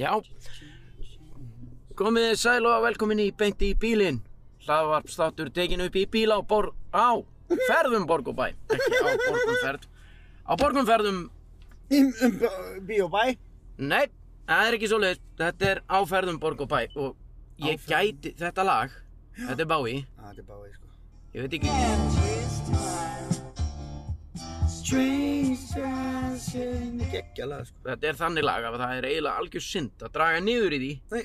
Já, komið þið sæl og velkomin í beinti í bílinn. Hlaðvarpstáttur tekin upp í bíl á bor... á ferðum Borgubæ. Ekki á Borgumferð. Á Borgumferðum, Um, um, Bíobæ nei, það er ekki svo leiðist. Þetta er á ferðum Borgubæ og ég gæti þetta lag, þetta er Bái, ah, Þetta er báði sko ég veit ekki... Geggjala sko Þetta er þannig lag að það er eiginlega algjör synd að draga niður í því. Nei.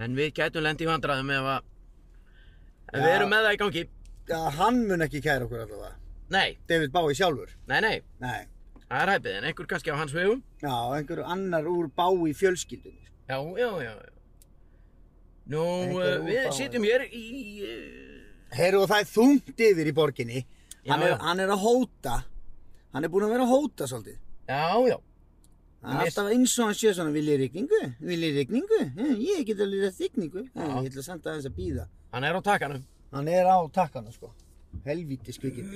En við gætum lendi í vandræðum ef að... Ef við Já. erum með það í gangi. Já, hann mun ekki kæra okkur allavega Nei, David Báði sjálfur nei, nei, Nei það er hæpið en einhver kannski á hans vegum. Já, einhver annar úr Báði fjölskyldunni sko. Já, já, já. já. Nú, Einhver uh, við útbáður. sitjum hér í... Uh, Herru og það er þungt yfir í borginni Já, hann er, já. hann er að hóta Hann er búinn að vera að hóta svolítið já, já. Það er Mér- alltaf eins og hann sé svona Vil ég rigningu? Vil ég rigningu? Eh, Ég get alveg að rigningu Eh, Ég ætla samt aðeins að býða Hann er á takanum. Hann er á takkana sko Helvíti skvikið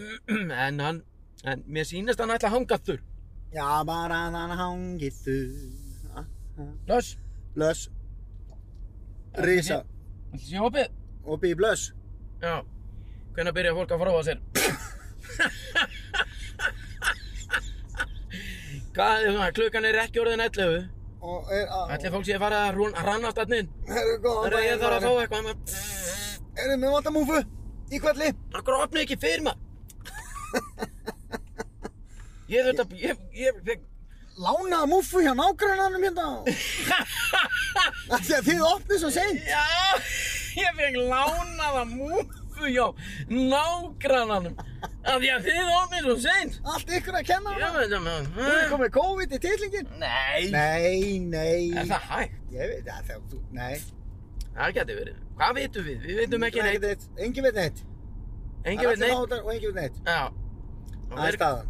en hann... En mér sýnist hann ætla að hanga þurr. Já, bara að hann hangið þú Blöss, Blöss Rísa ætla sé hoppið? Og bý blöss Já. Hvenær byrja fólk að fróa sér? Hvað er það? Klukkan er ekki orðin 11. Og er að Ætli fólk sé að fara að rún- að ranna á stannin. Herru góðan Það er að ég þarf að maður. fá eitthvað. maður. Herru, mér vantar múfu Í kvelli Akkur opnið ekki fyrir maður. Ég þurft að... Ég, ég, ég, Lánaða múfu hjá nágrannanum hérna Þegar þið opnið svo seint já, ég fekk lánaða múfu hjá nágrannanum. Af því að þið opnið svo seint. Allt ykkur að kenna Já, hana veit það Þú er maður. komið COVID í titlingin Nei, Nei, nei er það hægt? Ég veit það, það, þú, nei Það getur verið. Hvað vitum við? Við vitum ekki neitt. neitt Engin veit neitt Engin veit neitt. neitt Og engin veit neitt Já. Það er staðan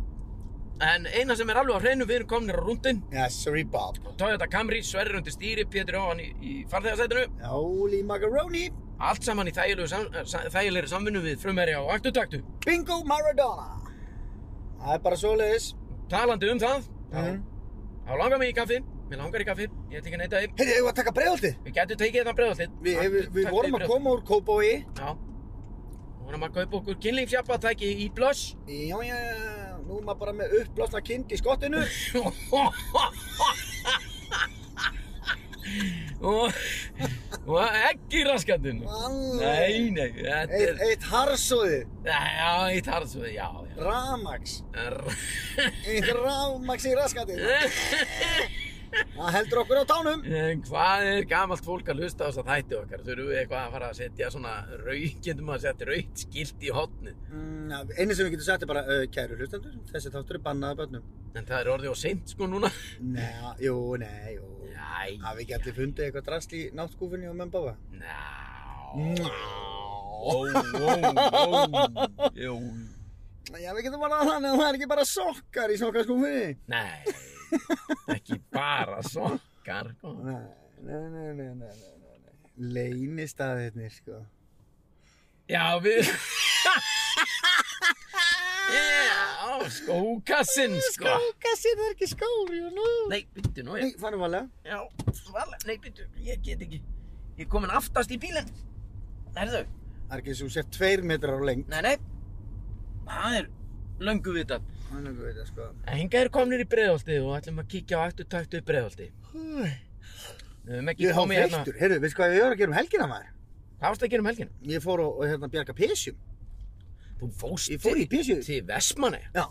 En eina sem er alveg á hreinu, við erum komnir á rúndin. Yes, sorry Bob Toyota Camry, Sverrir undir stýri, Pétur Jóhann í, í farþegarsætinu. Holy macaroni Allt saman í þægilegu sam, sa- þægilegri samvinnu við frumherja og aktutaktu. Bingo Maradona Það er bara svoleiðis Talandi um það, þá, mm. þá langar mig í kaffi. Mér langar í kaffi. Ég ætla ekki að neita þér. Heyrðu, hefur að taka bregðaldið? Við getum tekið þetta bregðallið. Við, við, við vorum að koma úr Kóbói Já. Við vorum að kaupa okkur kynlífsjapatæki í Blöss. Já, já, nú er maður bara með uppblásna kind í skottinu og, og ekki raskandinn. Nei, nei, þetta Eitt, er... eitt harsóði Já, ég tarði svo, já, já. Ramax Er- Eitt ramax í raskati Það heldur okkur á tánum En hvað er gamalt fólk að hlusta á þess að þætti okkar? Þurfum við eitthvað að fara að setja svona rauk, getum að setja raukt skilt í hotnið. Mm, ja, Einu sem við getum sagt er bara uh, Kæru hlustendur, þessi þáttur er bannaði börnum En það er orðið á seint sko núna. Nei, jú, nei, jú Æ, Hafi ekki allir fundið eitthvað drasl í náttkúfinni og membáfa? ná. Ó, Ná ó, ó, jú. Já, við getum bara þannig að það er ekki bara sokkar í sokkaskúfinni. Nei, ekki bara sokkar. sko. Nei, nei, nei, nei, nei, nei, nei, nei. Leinistaðirnir, sko. Já, við... Já, skókassinn, sko. Skókassinn er ekki skór, jú, nú. Nei, byttu, nú Nei, ég... fannum valega. Já, svala, nei, byttu, ég get ekki. Ég er komin aftast í bílinn. Herðu, Það er ekki svo sér tveir metrar á lengt. nei, nei. Það er löngu vitað. Hann er góðið, sko. En hingað eru komnir í breiðholti og ætlum að kíkja á ættu taktu í breiðholti. Við höfum ekki Ég há komið hérna... þreyttur. Heyrðu, veistu hvað ég var að gera um helgina maður? Hvað varst að gera um helgina? Ég fór og, og hérna bjarga pésjum. Þú fóst Ég fór í pésju. til Vestmannaeyja. Já.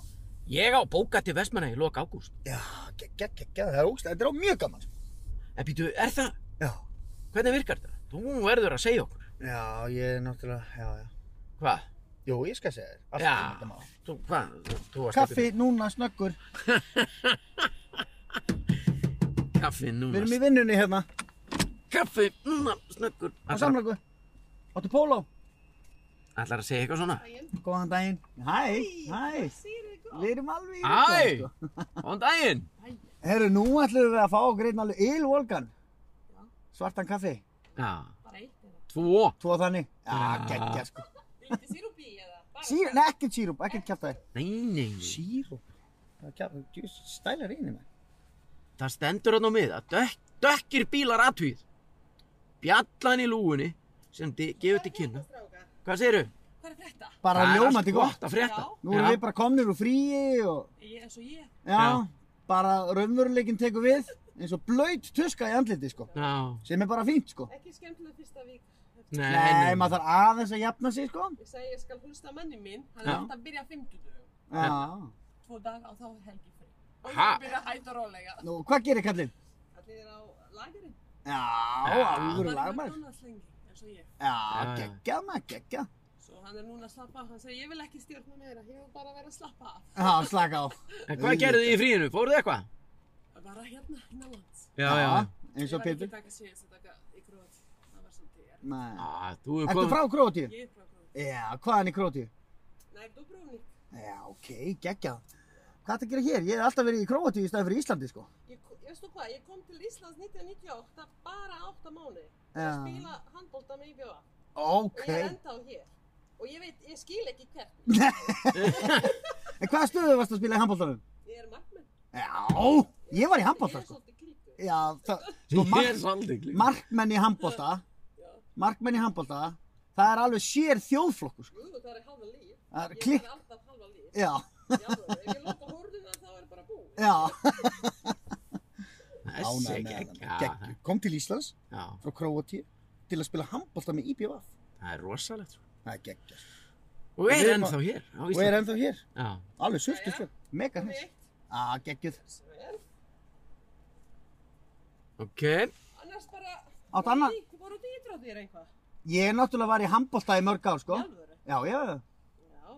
Ég á bóka til Vestmannaeyja í lok ágúst. Já, geggja, geggja, það er ógstæð. Þetta er á mjög gaman. sko. En býtu, er það? Já. Hvernig virkar þetta? Þú verður að segja okkur. Já, ég er náttúrulega, já, já. Hvað? Jú, ég skal segja þér. Allt Já. um þetta mál. Þú, hvað? Þú, þú varst Kaffi, núna, snöggur. ekki- Kaffi Við núna. erum í vinnunni hérna. Kaffi núna, snöggur. Og samlöku. Áttu póló. Ætlar að segja eitthvað svona? Góðan daginn. Hæ, hæ. Við erum alveg í Æ! sko. Góðan daginn! Herru, nú ætlum við að fá okkur einn alveg ylvolgan. Svartan kaffi. Já. Bara eitt eða? Tvo. Tvo þannig. Ah. Já, geggja sko. Lítið sírúpi í eða? Bara Sír, nei, ekkert sírup, ekkert kjátt það. Nei, nei, nei. Sírup? Stælar einu með. Það stendur hann á mið að dökk, dökkir bílar aðtugið. Bjallan í lúgunni sem di- gefur til kynna. Stráka, Hvað segirðu? hvað er þetta? Bara Það er ljómandi allt gott. gott að frétta. Já. Nú erum við bara komnir úr fríi og Ég, eins og ég. já, Já. bara raunveruleikin tekur við eins og blöyt tuska í andliti sko. Já, Sem er bara fínt sko. Ekki skemmtilega fyrsta vík. nei, Nei, maður þarf aðeins að jafna sig sko. Ég segi, ég skal hlusta á manni minn. Hann Já. er alltaf að byrja á fimmtudögum. Já. Tvo dag og þá er helgi fri. Og Ha? ég byrja hægt og rólega. Nú, hvað gerir kallinn? Allir er á lagerinn. Já, Já. alvöru Hann er lagmæður. McDonalds lengi, eins og ég. Já, Já, já. geggjað maður, geggjað. Svo hann er núna að slappa af. Hann segi, ég vil ekki stjórna meira. Ég vil bara vera að slappa af. Já, slaka á. En hvað gerðu þið í fríinu? Fóruðu eitthvað? Bara hérna, innanlands. Já, Eins og Ég var Pétur. ekki taka síðan að taka í gróð. Það var svolítið ég Nei. Já, þú hefur Ertu komið... frá Krótíu? Ég er frá gróð. Já, hvaðan í Krótíu? Nei, Dubrovnik. Já, ok, geggjað. Hvað ertu að gera hér? Ég hef alltaf verið í Krótíu í staði fyrir Íslandi, sko. Ég, ko- veistu hvað, ég kom til Íslands 1998, bara 8 mánuði. Já. Að spila handbólta með IBA. Ok. Og ég er enda á hér. Og ég veit, ég skil ekki hvernig. En hvaða stöðu varst að spila í handbóltanum? Ég er markmenn. Já, ég var í Ég handbólta, er sko. svolítið klíkur. Já, það, sko, Ég er mark, svolítið glíð. markmenn í handbólta, Já. markmenn í handbólta, það er alveg sér þjóðflokkur, sko. Jú, það er halva líf. Það er Ég klikk. er alltaf halva líf. Já, Já, ef ég loka hórnuna þá er bara búið. já. Þessi geggja. Geggjum. Kom til Íslands Já, frá Krótíu til að spila handbólta með IBVF. það er rosalegt. sko. Það er geggjað. Og Við er erum ennþá hér á Og er Íslandi. ennþá hér. Já, Alveg sultu, Jæja. sko. Mega Komið hins. eitt. Á, geggjuð. Vel. ok. Annars bara... Áttu annað? Voru þú íþróttir eitthvað? Ég náttúrulega var í handbólta í mörg ár, sko. Alvöru? Já, já, já.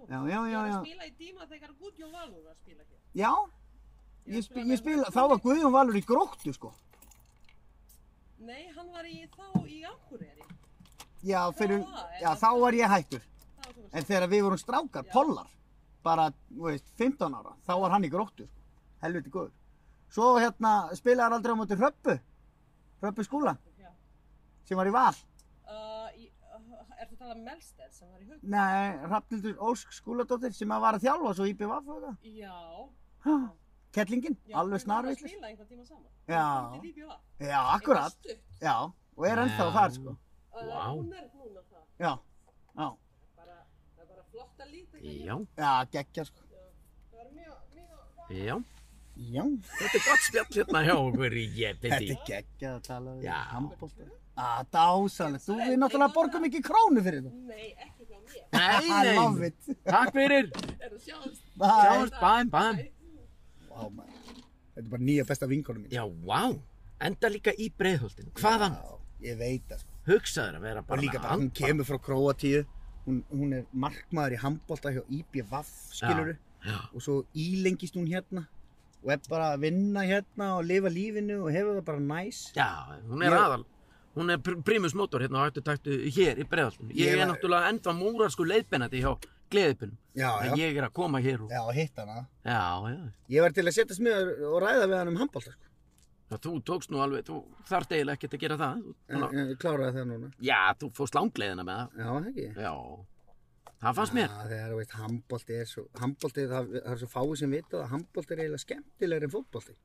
Já, já, Ég já, var já. að spila í tíma þegar Gudjón Valur var að spila hér. Já, Ég ég, sp spilaði ég spila, þá var Guðjón Valur í gróttu, sko. Nei, hann var í þá í Akureyri. Já, fyrir, Já, já, þá var ég hættur. Það var þú En þegar við vorum strákar, Já. pollar, bara, þú veist, 15 ára, þá var hann í gróttu, sko. Helviti góður. Svo hérna spilaði hann aldrei á móti Hröppu, Hröppu skúla, Já. sem var í val. Uh, í, uh, ertu að tala um Melstead sem var í hug? Nei, Hrafnildur Ósk skúladóttir sem að var að þjálfa svo í BVF og það. Já. Kettlingin, já alveg Við vorum að snarvislis. spila einhvern tíma saman. Já. Til IBA. Já, akkurat. Eitthvað stutt. Já, og er ennþá Já. þar, sko. Uh, Vá. Hún er núna það. Já, já, Bara, það er bara flott að líta hérna. Já, já, geggja, sko. Það var mjög, mjög... já. Já, Þetta er gott spjall hérna hjá okkur í þetta Jebedi. er geggjað að tala um við Já. handbólta. Að dásanlega, þú við náttúrulega borgum ekki krónu fyrir það. Nei, ekki hjá mér. Nei, I love nei. it. Takk fyrir. Er það sjáðast? Bye. Sjáumst, bæm, bæm. Vá, maður. Oh, Þetta er bara nýja besta vinkonum mín. Já, vá. Enda líka í breiðholtinu. Hvaðan Ég veit það, sko. hugsaður að vera bara Og líka með bara, hún handbolta? kemur frá Króatíu, hún, hún er markmaður í handbólta hjá IBVF, skiluru. Já, Og svo ílengist hún hérna og er bara að vinna hérna og lifa lífinu og hefur það bara næs. já, hún er Ég- aðal. Hún er pr- primus motor hérna á ættu taktu hér í breiðholtinu. Ég Ég er var- náttúrulega enda múrarsku leiðbennandi hjá gleðipinum. Já, En ég er að koma hér og... Já, hitt hana. Já, já. Ég var til að setjast með og ræða við hann um handbólta, sko. Já, þú tókst nú alveg, þú þarft eiginlega ekkert að gera það. Þú- En, Svona, en kláraði það núna. já, þú fórst langleiðina með það. Já, það ekki. Já, það fannst mér. Já, þegar þú veist, handbólti er svo, handbólti, það, það er svo fáið sem vita það, handbólti er eiginlega skemmtilegri en fótbólti.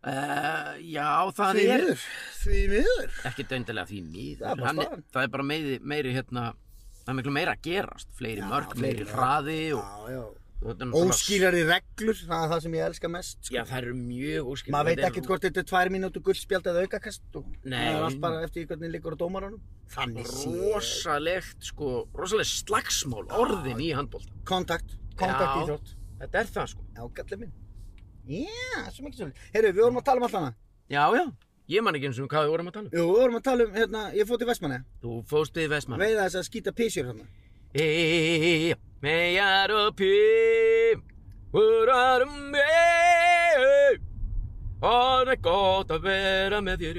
Uh, já, það Því er miður, því miður. ekki döndilega því miður. Það er bara Hann staðan. það er bara meiri, meiri hérna, það er miklu meira að gerast. Fleiri mörg, fleiri meiri mörk. hraði og... Já, já. og þetta er náttúrulega- Óskýrari reglur, það er það sem ég elska mest. Sko. Já, það eru mjög óskilur. Maður veit ekkert hvort þetta er tvær mínútu gullspjald eða aukakast og Nei. það er allt bara eftir því hvernig liggur á dómaranum. Þannig sé. Rosalegt, sko, rosalegt slagsmál, orðin í handbólta. Kontakt, kontakt Já. í þrótt. Þetta er það, sko. Já, gallið minn. Já, svo mikið svolítið. Herru, við vorum að tala um allt hana. Já, já. Ég man ekki eins og hvað við vorum að tala um. Jú, við vorum að tala um, hérna, ég fótt í Vestmanni. Þú fóst við Vestmann. Veiða þess að skýta písjur hérna. Meyjar og pím Húrar um mig Það er gott að vera með þér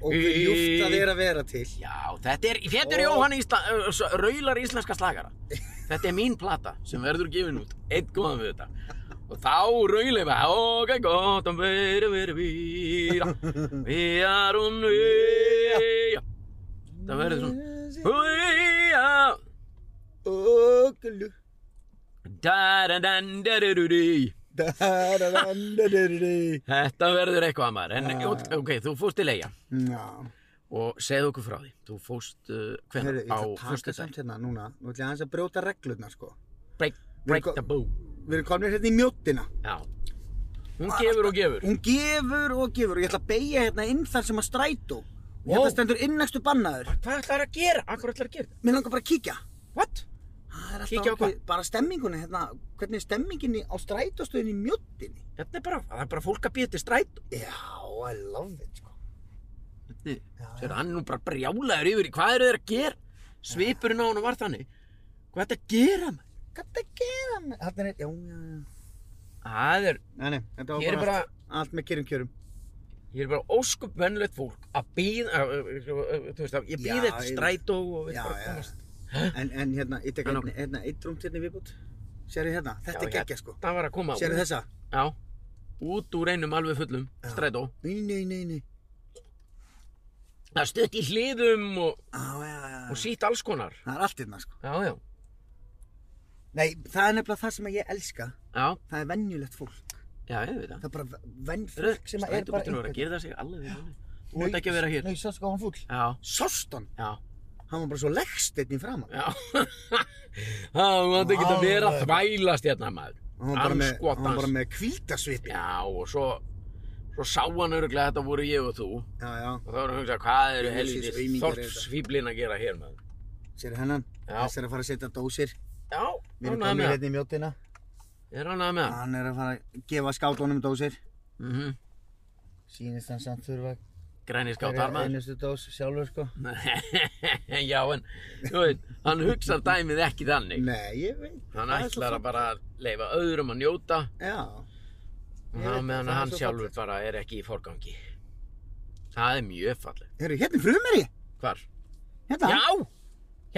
Og hver ljúft það er að vera til. Já, þetta er, þetta er Ó. Jóhann Ísla, ö, s- Raular íslenska slagara Þetta er mín plata sem verður gefin út Einn góðan við þetta Og þá raulum við Og er gott að vera með þér Meyjar og mig Það verður svona Meyjar Óglu. Da-da-dan-da-du-du-di Já, Þetta verður eitthvað maður, en Já. ok, þú fórst til eiga og segðu okkur frá því, þú fórst uh, Heyrðu, hvernig ég á ætla að taka fyrstu samt hérna núna. Nú ætla ég aðeins að brjóta reglurnar, sko. break, Við break ko- the boo Við erum komin hérna í mjóttina. Já, hún gefur og gefur Hún gefur og gefur og ég ætla að beigja hérna inn þar sem að strætó. Og Ó. hérna stendur innægstu bannaður. Hvað ætlar að gera? Akkur ætlar að gera? Mér langar bara að kíkja. What? Það er alltaf Kíkja á ákveð- hvað? Bara stemmingunni hérna. Hvernig er stemminginni á strætóstöðinni í mjóttinni? Þetta Hérna er bara, það er bara fólk að býja til stræt Já, I love it, sko. Sér hann er nú bara brjálaður yfir í hvað eru þeir að gera? Svipurinn á hann var þannig Hvað er þetta að gera maður? Hvað það gera með? Þarna er, já, já, já. Það er, Nei, nei, þetta var hér er bara bara allt með kyrrum kjörum. Ég er bara óskup vennlegt fólk að uh, býða, þú veist að ég Já, býð eftir ég- strætó og við Já, bara já. komast. En, en hérna, ég tek En hérna, hérna, eitt rúmt hérna í viðbútt. Sérðu hérna, þetta Já, er geggja sko. Þetta var að koma Sérðu út- þessa? Já, hérna. út úr einum alveg fullum Já. strætó. Nei, nei, nei, nei. Það er stutt í hliðum og, Á, já, já, og já. sítt alls konar. Það er allt hérna sko. Já, já, Nei, það er nefnilega það sem ég elska. já, Það er venjulegt fólk. já, ég veit það. Það er bara venn Röð, fólk sem að er bara strætóbílinn var að gera sig alveg við hann. Þú Nei, veit ekki að vera hér. Nei, sástu hvað hann fúll. Já, Sást hann? já, Hann var bara svo leggst einnig framan. já. Það var ekki að vera að Alveg. þvælast hérna maður. Hann var bara með, Andskotans. hann var bara með kvíldasvipi. Já, og svo, svo sá hann öruglega þetta voru ég og þú. Já, já. Og þá var hann að hugsa, hvað eru Ég sé þessi helviti aumingjar eru þorpsfíblin að gera hér maður? Sérðu hennan? Já. Þessi er að fara að setja dósir. Já, Við erum ránaði komin með það. hérna í mjótina. Ég ránaði með það. Hann er að fara að gefa skátunum dósir. Mhm. Sýnist hann samt þurfa að Græni Hverja skátar maður. einustu dós sjálfur sko Já, en, þú veit, hann hugsar dæmið ekki þannig. Nei, ég veit Hann það er svo fallegt. ætlar að bara leifa öðrum að njóta. Já og Ég þá veit það, meðan það er hann svo sjálfur fallegt. bara er ekki í forgangi. Það er mjög fallið. Herru, hérna er frumeri Hvar? Hérna Já!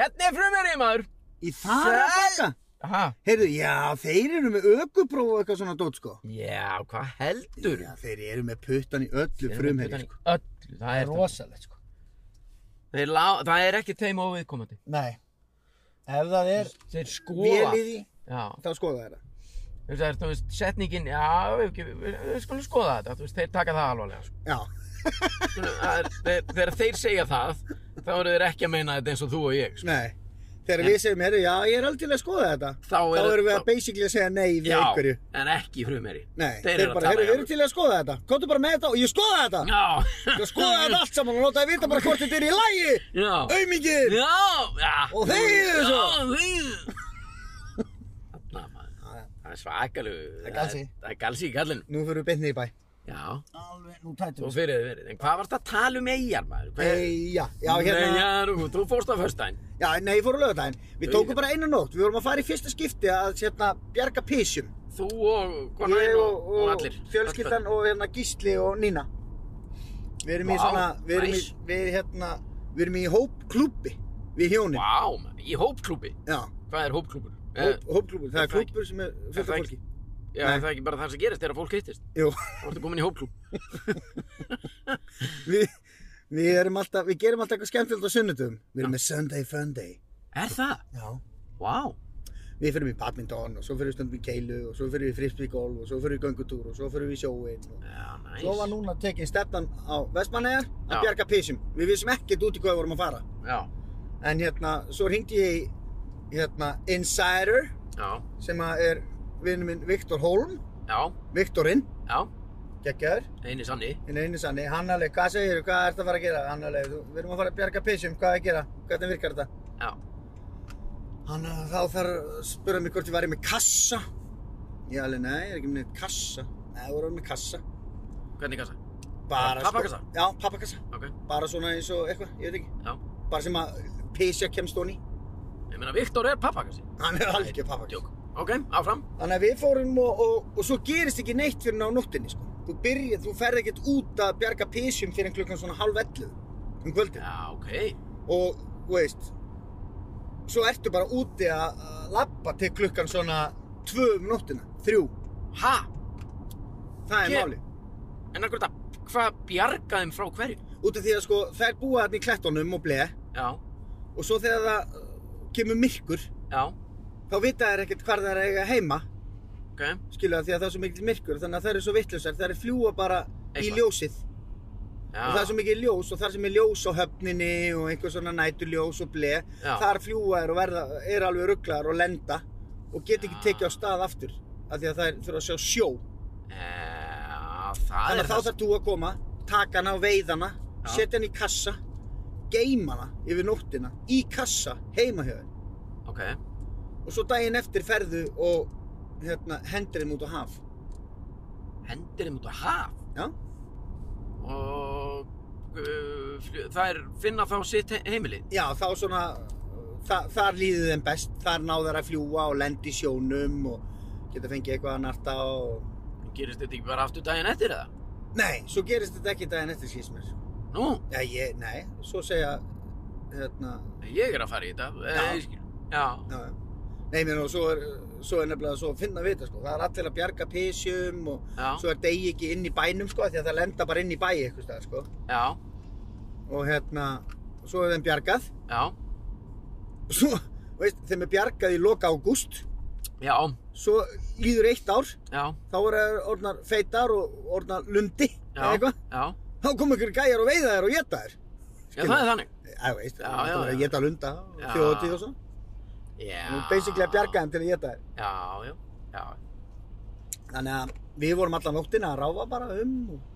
Hérna er frumerið maður! Í þar að baka Aha. Herru, já, þeir eru með ökupróf og eitthvað svona dót sko Já, hvað heldur? Já, þeir eru með puttan í öllu Þeir eru með frumeri utan í sko Öllu, það er það. rosalegt sko. Þeir lá, það er ekki þeim óviðkomandi. Nei. Ef það er Þeir skoða. Vel í því, Já, þá skoða þeirra þú veist, það er, þú veist, setningin, já, við, við, við, við skulum skoða þetta, þú veist, þeir taka það alvarlega, sko. Já, Skulum, það er- þeir- Þegar þeir segja það, þá eru þeir ekki að meina þetta eins og þú og ég, sko. nei Þegar við segjum, herru, já, ég er alveg til að skoða þetta Þá Þá er- erum við þá- að basically að segja nei við Já, einhverju en ekki frumeri. Nei, þeir þeir eru að eru bara, herru, tala í við erum alvöru. til að skoða þetta Komdu bara með þetta og ég skoða þetta Já, Ég skoða þetta allt saman og láta þið vita bara hvort þetta er í lagi já, Aumingir já, já. Og þegiðu svo. Já, þegiðu. Þarna, maður, það er svakalegu. er galsi. Það er galsi í kallinu. Nú fyrir við beinni í bæ Já, alveg, nú tætum þú við. fyrir þið verið. En hvað varst að tala um eigjar, maður? Hvað- Eyja, já, hérna Eyjar, og þú fórst á föstudaginn. Já, nei, ég fór á lögadaginn Við tókum bara eina nótt, við vorum að fara í fyrsta skipti að hérna, bjarga písjum Þú og konan Ég þín og, og, og allir. fjölskyldan og hérna Gísli og Nína Við erum í Vá, svona, við erum nice. í, við hérna, við erum í hópklúbbi Við hjónin, Vá, maður, í hópklúbi. já, Hvað er hópklúbur? Eh, hóp, hópklúbbi, það er er það ekki- klúbbur sem er er fullt það af ekki- fólki Já, nei. er það er ekki bara það sem gerist þegar fólk hittist. Jú, Þá ertu komin í hópklúb. við, við erum alltaf, við gerum alltaf eitthvað skemmtilegt á sunnudum Við Já. erum með Sunday Funday Er það? Já Vá. við fyrir í badminton og svo fyrir við stundum í keilu og svo fyrir við frisbeegolf og svo fyrir við göngutúr og svo fyrir við í sjóinn og Já, næs. svo var núna tekin stefnan á Vestmannegar Já. að bjarga písum við vissum ekkert út í hvað við vorum að fara Já, en hérna, svo hringdi ég í hérna, Insider já, sem að er vinnum minn Viktor Holm já, Viktorinn, já. geggjaður Einu sanni. hinn er einu sanni, hann alveg, hvað segir þú, hvað ertu að fara að gera hann alveg, "Þú- við erum að fara að bjarga písum, hvað er að gera hvernig virkar þetta Já, Hann eh, þá þarf að spura mig hvort ég væri með kassa. Ég alveg, nei, ég er ekki með neitt kassa. Nei, þú erum með kassa. hvernig kassa? Bara sko- Pappakassa? Já, pappakassa. Ok, Bara svona eins og eitthvað, ég veit ekki. já. Bara sem að písja kemst hún í. Ég meina, Viktor er pappakassi. Hann er alveg pappakassa. Djók. Ok, áfram. Þannig að við fórum og, og, og svo gerist ekki neitt fyrir á nóttinni, sko. Þú byrjað, þú ferð ekkert út að bjarga písjum fyrir en klukkan svona hálf ellu um kvöldið. Já, ok. Og, þú veist, svo ertu bara úti að að labba til klukkan svona tvö um nóttina, þrjú. Ha? Það er Ég- málið. En akkur þetta, hvað bjargaði þeim frá hverju? út af því að sko þær búa þarna í klettunum og bleið Já, og svo þegar það uh, kemur myrkur já, þá vita þær ekkert hvar þær eiga heima ok, skilja því að það er svo mikill myrkur þannig að það eru svo vittlausar, það eru fljúa bara í Eitthvað. ljósið já, og það er svo mikið ljós og það sem er ljós á höfninni og einhver svona næturljós og ble já, þar fljúa er og verða, er alveg rugglar og lenda og get ekki Já. tekið á stað aftur af því að það er, þurfa að sjá sjó já, þannig það er að þá þarf þú að koma, taka hana og veiða hana Já. setja hana í kassa geima hana yfir nóttina í kassa heima hjá þér ok, og svo daginn eftir ferðu og hérna, hendur þeim út á haf hendir þeim út á haf Já. og uh, það er finna þá sitt he- heimili já þá svona þa þar líður þeim best, þar náður að fljúa og lenda í sjónum og geta fengið eitthvað að narta og gerist þetta ekki bara aftur daginn eftir eða? nei, svo gerist þetta ekki daginn eftir skýst mér Nú, já, ég, nei, svo segja hérna, ég er að fara í þetta Já. Eh, ég skil. já, Já, já. Nei, mér og svo er, svo er nefnilega svo að finna við þetta, sko. Það er allir að bjarga písjum og já, svo er degi ekki inn í bænum, sko, af því að það lenda bara inn í bæi eitthvað stað, sko. já, Og hérna, svo er þeim bjargað. já Og Svo, veist, þeim er bjargað í loka ágúst. já, Svo líður eitt ár, já, þá eru þær orðnar feitar og orðnar lundi, Já. eða eitthvað. já Þá kom ykkur gæjar og veiða þær og geta þær. Já, það er þannig. Já, veist, Já, það er já, bara að já. geta lunda Já. og þjóðatíð og svo. Já. Nú, basically að bjarga þeim til að geta þær. Já, já, já. Þannig að við vorum alla nóttina að ráfa bara um og...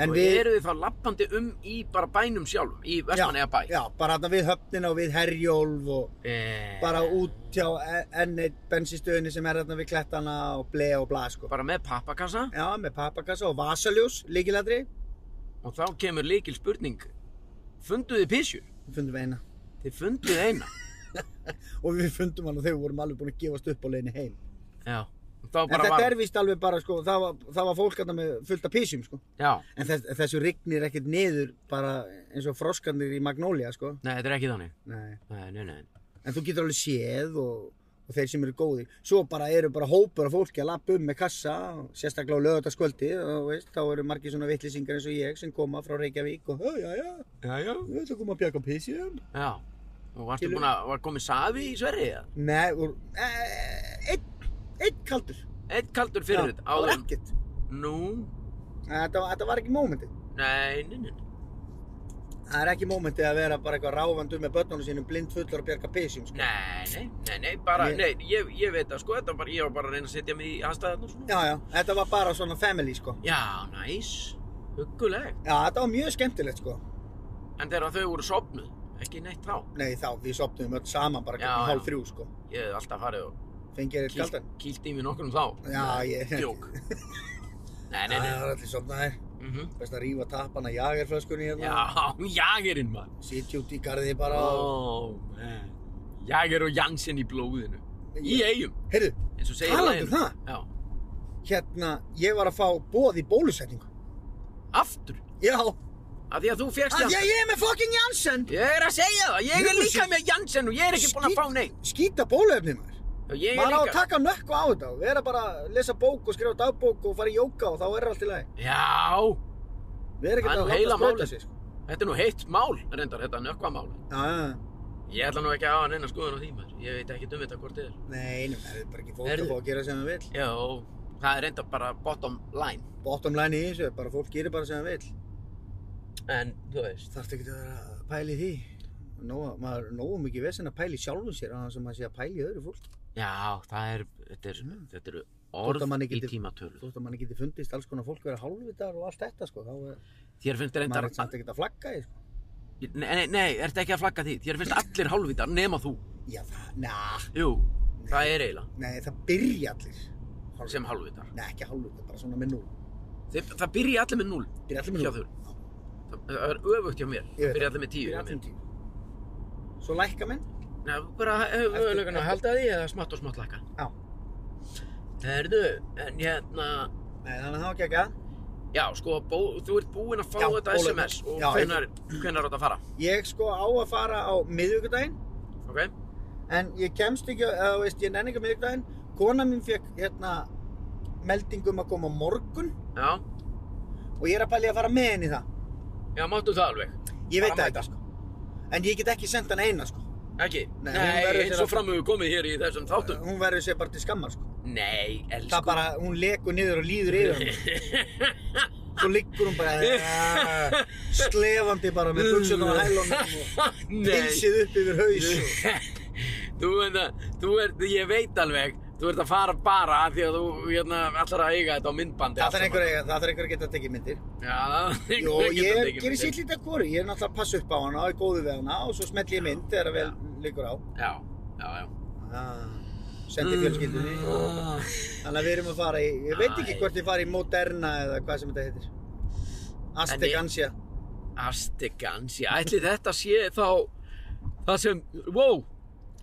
En og við, eru þið þá lappandi um í bara bænum sjálfum, í Vestmanneja bæ. já, bara þarna við höfnina og við herjólf og Eh, bara út hjá enn eitt bensinstöðinni sem er þarna við klettana og ble og bla, sko. Bara með pappakassa Já, með pappakassa og vasaljós, líkiladri, og þá kemur líkil spurning. Funduð þið písjur? við fundum eina. Þið funduð eina. Og við fundum hann og þau vorum alveg búin að gefast upp á leiðinni heim. já. Og Þá En bara þetta var... er víst alveg bara, sko, það var, það var fólk þarna með fullt af písjum, sko. Já, En þess, þessu rignir ekkert niður bara eins og froskarnir í Magnólia, sko. nei, þetta er ekki þannig. Nei. Nei, nei, nei. en þú getur alveg séð og, og þeir sem eru góðir svo bara eru bara hópur af fólki að lappa um með kassa og sérstaklega á lögutaskvöldi og veist, þá eru margir svona vittlisingar eins og ég sem koma frá Reykjavík og "Ó, já já, Já, já. við ætlum að koma að bjaka písjum Já. Og varstu Skilur- búin að, var komið safi í Sverri eða? Nei, og, e, einn, einn kaldur Eitt kaldur Já, fyrir þetta það var áður. ekkert Nú, þetta, var- þetta var ekki mómenti nei, nei, nei. það er ekki mómenti að vera bara eitthvað ráfandur með börnunum sínum blind fullur að bjaka písjum sko. Nei, nei, nei, nei, bara, En nei, ég, ég veit að sko, þetta var, ég var bara að reyna að setja mig í aðstæðan og svona. já já, þetta var bara svona family sko Já, næs, huggulegt. já, þetta var mjög skemmtilegt sko En þegar þau voru sopnuð, ekki neitt þá. nei þá, við sopnum öll saman bara Já, klukkan já. hálf þrjú sko Ég hef alltaf farið og fengið þér kýlt, kaldan kýlt í mig nokkrum þá. Já, ég- Djók. nei, Já, nei, nei. Það er allir sofnaðir. Mm Best að rífa tappan að jagerflöskunni hérna. Já, jagerinn mann. Sitja út í garði bara og... Ó, man. Jager og Jansen í blóðinu. Í eigum, Heyrðu, eins og segir talandi laginu. um það. Já, Hérna, ég var að fá bóð í bólusetningu. aftur. Já. Af því að þú fjækst Að Ah, ég, ég er með fucking Janssen. Ég er að segja það, ég er Jú, líka sí. með Jansen og ég er ekki búinn að Skít- fá neitt. Skýta bóluefnið maður. Já, Ég er Maður á að líka. taka nökku á þetta og vera bara að lesa bók og skrifa dagbók og fara í jóka og þá er allt í lagi. Já, Við erum ekki að Það er nú láta heila sprauta málið. sig, sko. þetta er nú heitt mál, reyndar, þetta nökkvamál. Já, já, já. Ég ætla nú ekki að hafa neina skoðun á því maður, ég veit ekki um þetta hvort þið er. Nei, nei, það er bara ekki fólk Heyrðu. að fá að gera sem það vill. Já, það er reyndar bara bottom line. Bottom line í þessu, er bara fólk gerir bara sem það vill. En, þú veist, þarfst ekki að vera að pæla í því Nóa, maður er nógu mikið vesen að pæla í sjálfum sér annars að maður sé að pæla í öðru fólk já, það er, þetta er, þetta eru Þótt að orð manni í geti- tímatölu. þótt að manni geti fundist alls konar fólk vera hálfvitar og allt þetta sko þá er Þér finnst maður reyndar, er samt ekkert að flagga því sko nei, nei, nei, ertu ekki að flagga því, þér finnst allir hálfvitar nema þú. já það, na, Jú, það er eiginlega, nei það byrja allir hálfvitar. sem hálfvitar. nei ekki hálfvitar, bara svona með núl Þeir, það byrja allir með 0, byrja allir með hjá núl þau. Það, það er öfugt hjá mér, Ég veit byrja allir með 10 hjá byrja mér. allir með tíu svo lækka menn Nei, bara hefur Eftir- mögulegan að eftir- halda því eða smátt og smátt lækka. Já. Herðu, en hérna, nei þannig að það var ekki ekki að já sko, bó, þú ert búinn að fá Já, þetta bóluefni. SMS og Já, hvenar, hvenar átt að fara, ég sko á að fara á miðvikudaginn ok? en ég kemst ekki, eða þú veist, ég nenni ekki á miðvikudaginn kona mín fekk hérna meldingum að koma á morgun Já, og ég er að pæli að fara með henni í það já, máttu það alveg. ég veit Bara það ekki sko. en ég get ekki sendt hann eina sko. Ekki? Nei, Nei, hún verður eins sér og að- fram hefur komið hér í þessum þáttum. hún verður sér bara til skammar sko. Nei, elsku Það bara, hún lekur niður og líður yfir hann. Svo liggur hún bara slefandi bara með buksunum og hælunum og Nei, pilsið upp yfir haus. og- þú veit að, þú ert, ég veit alveg, þú ert að fara bara af því að þú, hérna, allar að eiga þetta á myndbandi. Það þarf einhver að- það þarf einhver að geta að tekið myndir. Já, það þarf Jó, einhver að geta ég tekið gerir myndir. sitt lítið að hvori. Ég er náttúrulega að passa upp á hana og er góðu við hana og svo smelli ég mynd þegar vel liggur á. Ah. Já, já, já. Sendi Mm. fjölskyldunni. Ah. Þannig að við erum að fara í, ég veit ekki Æ. hvort ég fara í Moderna eða hvað sem þetta heitir. Aztec Ansia. Astegansi, ætli þetta sé þá það sem, wow,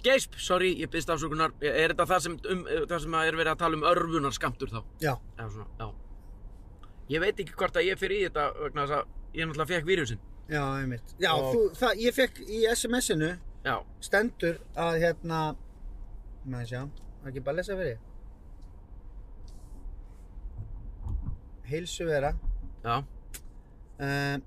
geisp, sorry, ég byrst afsökunar, er þetta það sem, um, það sem að er verið að tala um örfunar skamtur þá? Já. Eða svona, já. Ég veit ekki hvort að ég fyrir í þetta vegna þess að ég náttúrulega fekk vírusinn. Já, einmitt. Já, Og- þú, það, ég fekk í SMS-inu Já, stendur að hérna, maður sjá, það ekki bara að lesa fyrir ég. Heilsu vera. já, Uh,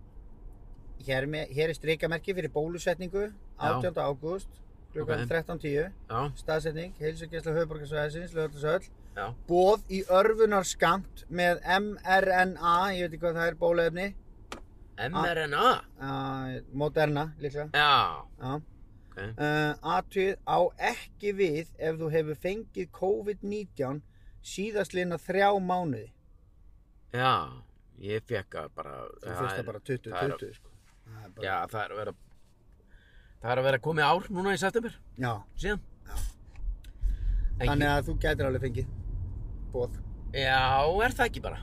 hér, með, hér er strikamerki fyrir bólusetningu, 18. ágúst, klukkan Ok. 13.10. já, Staðsetning, heilsugjæsla höfuborgarsvæðisins, lögurlisöll. já, Bóð í örfunarskamt með mRNA, ég veit ekki hvað það er, bóluefni. mRNA, Uh, Moderna, líklega. já, Já. ok, Uh, Atvið á ekki við ef þú hefur fengið COVID-19 síðastlina þrjá mánuði. já, ég fekk að bara, Þú fyrst það bara 20, það er- 20, sko. Það er bara- já, það er að vera, það er að vera komið ár núna í september, Já. síðan. En ég- Þannig að þú gætir alveg fengið bóð. Já, er það ekki bara?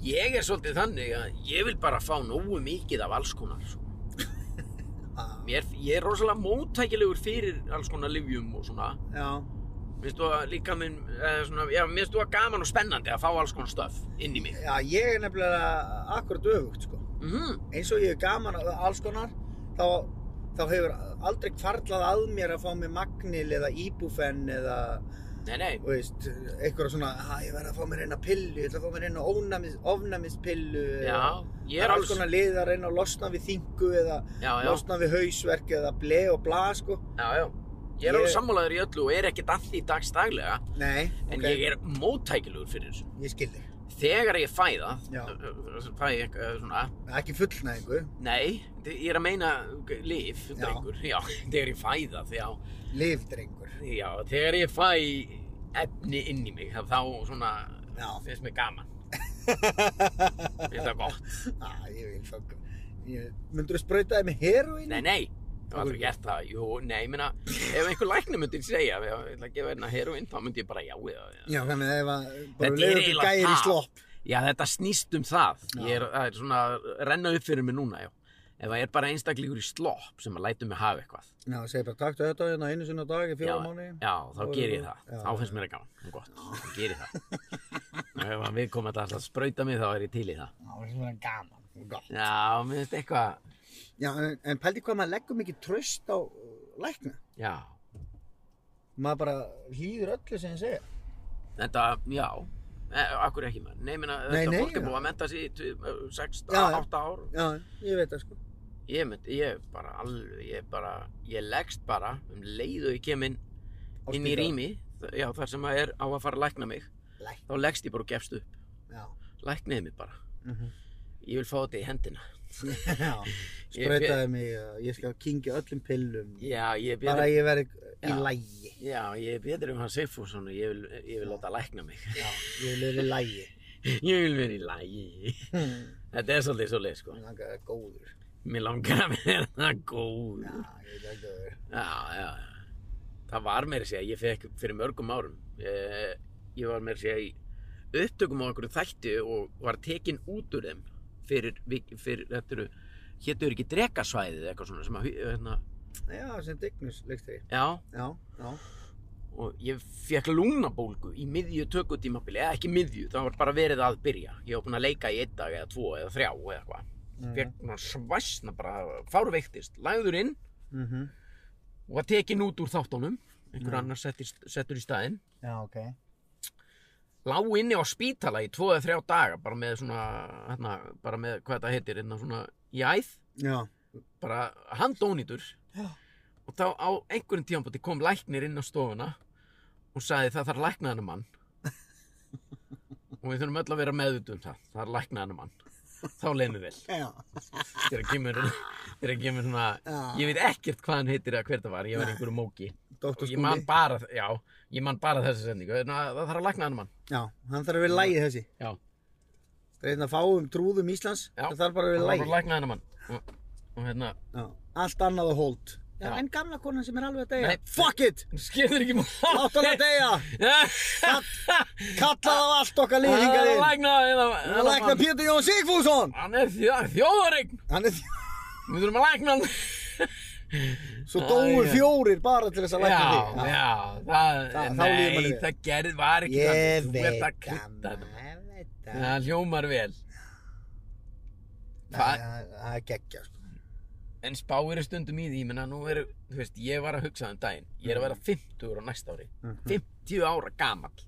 Ég er svolítið þannig að ég vil bara fá nógu mikið af alls konar. sko. Ah. Mér, ég er rosalega móttækilegur fyrir alls konar livjum og svona. Já. Mér stu að líka minn, eða svona, já, mér stu að gaman og spennandi að fá alls konar stöf inn í mig. Já, ég er nefnilega akkurat öfugt, sko. Mm Eins og ég er gaman að alls konar, þá, þá hefur aldrei kvarlað að mér að fá mig magnil eða íbúfen eða, Nei, nei, þú veist, eitthvað svona, að ég verð að fá mér eina pillu, ég ætla að fá mér eina ónæmis, ofnæmispillu. já, ég Ég er er alls alls, konar lið að reyna að losna við þingu eða já, já, losna við hausverk eða ble og bla, sko. já, já. Ég Ég- er alveg sammálaður í öllu og er ekkert að því dagstaglega, Nei, en ok, ég er móttækilegur fyrir þessu. ég skil þig. Þegar ég fæ það, Já. fæ ég eh, svona, Ekki fullnæðingu, Nei, þe- ég er að meina g- líf, Já. drengur, já, þegar ég fæ það, já, lifdrengur. já, þegar ég fæ efni inn í mig, þá svona, Já. finnst mér gaman, finnst það gott, Ah, ég vil fá... Ég... Myndur þú spröytaði með heroín? nei, nei, ég hef aldrei gert það, jú, nei, ég meina, ef einhver læknir myndi segja, ég ætla að gefa hérna heroinn, þá myndi ég bara já eða, já. Já, þannig að ef að bara Þetta er leiður okkur eiginlega gæir í það. slopp. já, þetta snýst um það, Já. ég er, það er svona, að renna upp fyrir mig núna, já, ef það er bara einstaklingur í slopp sem að lætu mig hafa eitthvað, Já, segir bara taktu þetta hérna einu sinna dag í fjóra mánu. já, þá Þá er ger ég það- það, já, þá finnst mér það gaman og gott, þá ger ég það og ef að við komum þetta alltaf að sprauta mig þá er ég til í það Það var svona gaman. Gott. já, mér finnst eitthvað Já, en, en pældi hvað maður leggur mikið tröst á uh, lækna. já, Maður bara hlýður öllu sem ég segja. þetta, já e, akkur ekki maður, nei, minna, Nei, þetta nei, fólk já. er búið að menta sig í 6, Já, já. 8 ár Já, ég veit það sko. ég mynd, ég bara alveg, ég bara ég leggst bara, um leið og ég kem inn Á inn í spítala. rými, já, þar sem að er á að fara að lækna mig, Læk. þá leggst ég bara og gefst upp, Já. lækniði mig bara Mhm. ég vil fá þetta í hendina Já. Spröytaði mig, uh, ég skal kingja öllum pillum. já, ég byrði Bara ég verði í Já. lægi. Já, ég er betur um hann Sigfússon og ég vil, ég vil láta lækna mig. Já, ég vil verið í lægi. Ég vil vera í lægi. Þetta er svolítið svo leið, sko. Mér langar að vera góður. Mér langar að vera góð. Já, ég vil ekki að vera. Já, já, já. Það var meira að segja, ég fekk fyrir mörgum árum. Ég, ég var meira að segja í upptökum á einhverju þætti og var tekin út úr þeim fyrir, vik- fyrir þetta eru, héttu ekki drekasvæðið eða eitthvað svona sem að, hérna, Já, sem Dignus leikstri. já, Já, já. og ég fekk lungnabólgu í miðju tökutímabili, eða ekki miðju, það var bara verið að byrja. Ég var búinn að leika í einn dag eða tvo eða þrjá eða eitthvað. Mhm. Fekk svona svæsna bara, fárveiktist, lagður inn Mhm. og var tekin út úr þáttunum. Einhver annar settir, settur í staðinn. Já, ok. Lá inni á spítala í tvo eða þrjá daga, bara með svona, hérna, bara með hvað þetta heitir, hérna svona í æð, Já. bara handónýtur. Já. Og þá á einhverjum tímanbúti kom læknir inn á stofuna og Hún sagði það þarf læknaðan mann og við þurfum öll að vera meðvituð um það. Það er læknaðan mann. Þá leið mér vel. Já, Þegar kemur, þegar kemur svona, Já. ég veit ekkert hvað hann heitir eða hver það var. Ég var í einhverju móki. Og Dr. ég man Skúli. bara, já, ég man bara þessa sendingu. Þannig að Það þarf að læknaðan mann. Já, hann þarf að vera lægið þessi. Já. Það er hérna fáum trúðum Íslands, Já. það þarf bara að Það vera þarf að lægið. læknaðan mann. Og, og hérna, Já. Allt annað að hold. Já, Já. en gamla konan sem er alveg að deyja. Nei. Fuck it! skiptir ekki máli. Látt hann að deyja! Kallað Ah. á allt okkar liðingar inn! Læknaðan Og lækna mann. Pétur Jón Sigfússon! Hann er þjó- þjóðareign. Hann er Við þurfum að lækna hann. svo Æ, dóu já. fjórir bara til þess að lækna já, þig. já, Þa- það, þá líður manni nei, vel. það gerð var ekki Ég þannig, þú ert að veit krydda það, þetta. ég veit það. það hljómar vel Það það, það er geggja, sko. en spáir er stundum í því, menna nú eru, þú veist, ég var að hugsa um daginn, ég er að vera 50 á næsta ári, Mhm. 50 ára gamall,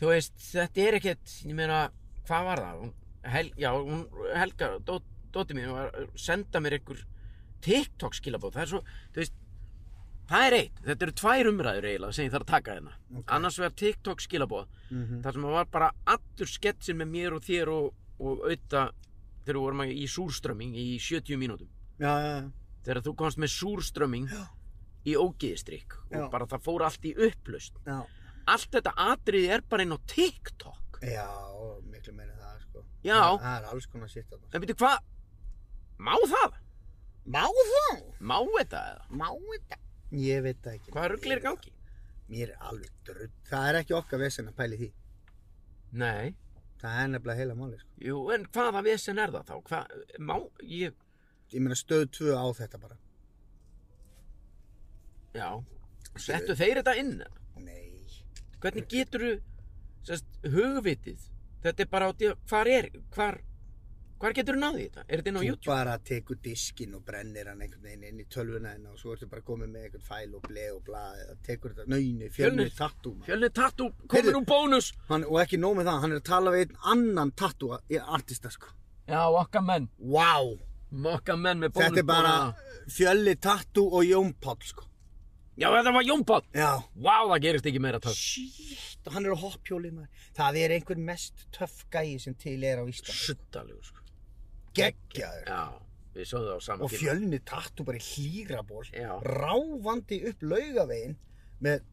þú veist, þetta er ekkert, ég meina, hvað var það, hún, hel, já, hún, Helga, dó, dóti mín, var að senda mér einhver TikTok skilabóð, það er svo, þú veist, það er eitt, þetta eru tvær umræður eiginlega sem ég þarf að taka hérna, annars vegar TikTok skilabóð, Mhm. þar sem það var bara allur sketsin með mér og þér og, og auðta þegar við vorum í súrströmming í 70 mínútum, Já, já, já. þegar þú komst með súrströmming í ógeðistrykk Já. og bara það fór allt í upplaust, Já. allt þetta atriði er bara inn á TikTok. Já, og miklu meira en það, sko. Já. Það- Það er alls konar sitt að það. En byrju, hvað? Má það? Má það? Má þetta eða? Má þetta? Ég veit það ekki. Hvað rugglir í gangi? Mér er alveg drull. Það er ekki okkar vesen að pæli því. Nei. Það er nefnilega heila máli, sko. Jú, en hvaða vesen er það þá? Hvað, má, ég, Ég meina stöð tvö á þetta bara. já. Settu þeir þetta inn? eða? Nei. Hvernig getur þú, sérst, hugvitið? Þetta er bara á því, hvar er, hvar, hvar getur þú náðið í þetta? Er þetta inn á Þú YouTube? bara tekur diskin og brennir hann einhvern veginn inn í tölvuna henn og svo ertu bara komið með einhvern fæl og bleið og blað eða tekur þetta nöyni, fjölnir Fjölnir. tattoo. maður. Fjölnir Tattoo, Heyrðu. komin úr bónus! Hann, og ekki nóg með það, hann er að tala við einn annan tattoo artista, sko. Já, okkar menn. Vá! Wow. Okkar menn með bónus. Þetta er bara fjölli tattoo og Jón Páll, sko. Já, þetta var Jónpáll. Já. Vá, það gerist ekki meira töff. Shit, og hann er á hoppjóli maður. Það er einhver mest töff gæi sem til er á Íslandi. Suttalegur, sko. Geggjaður. Já, við sögum það á saman Og fjölni tattu bara í hlýraból. Já. Rávandi upp laugavegin með,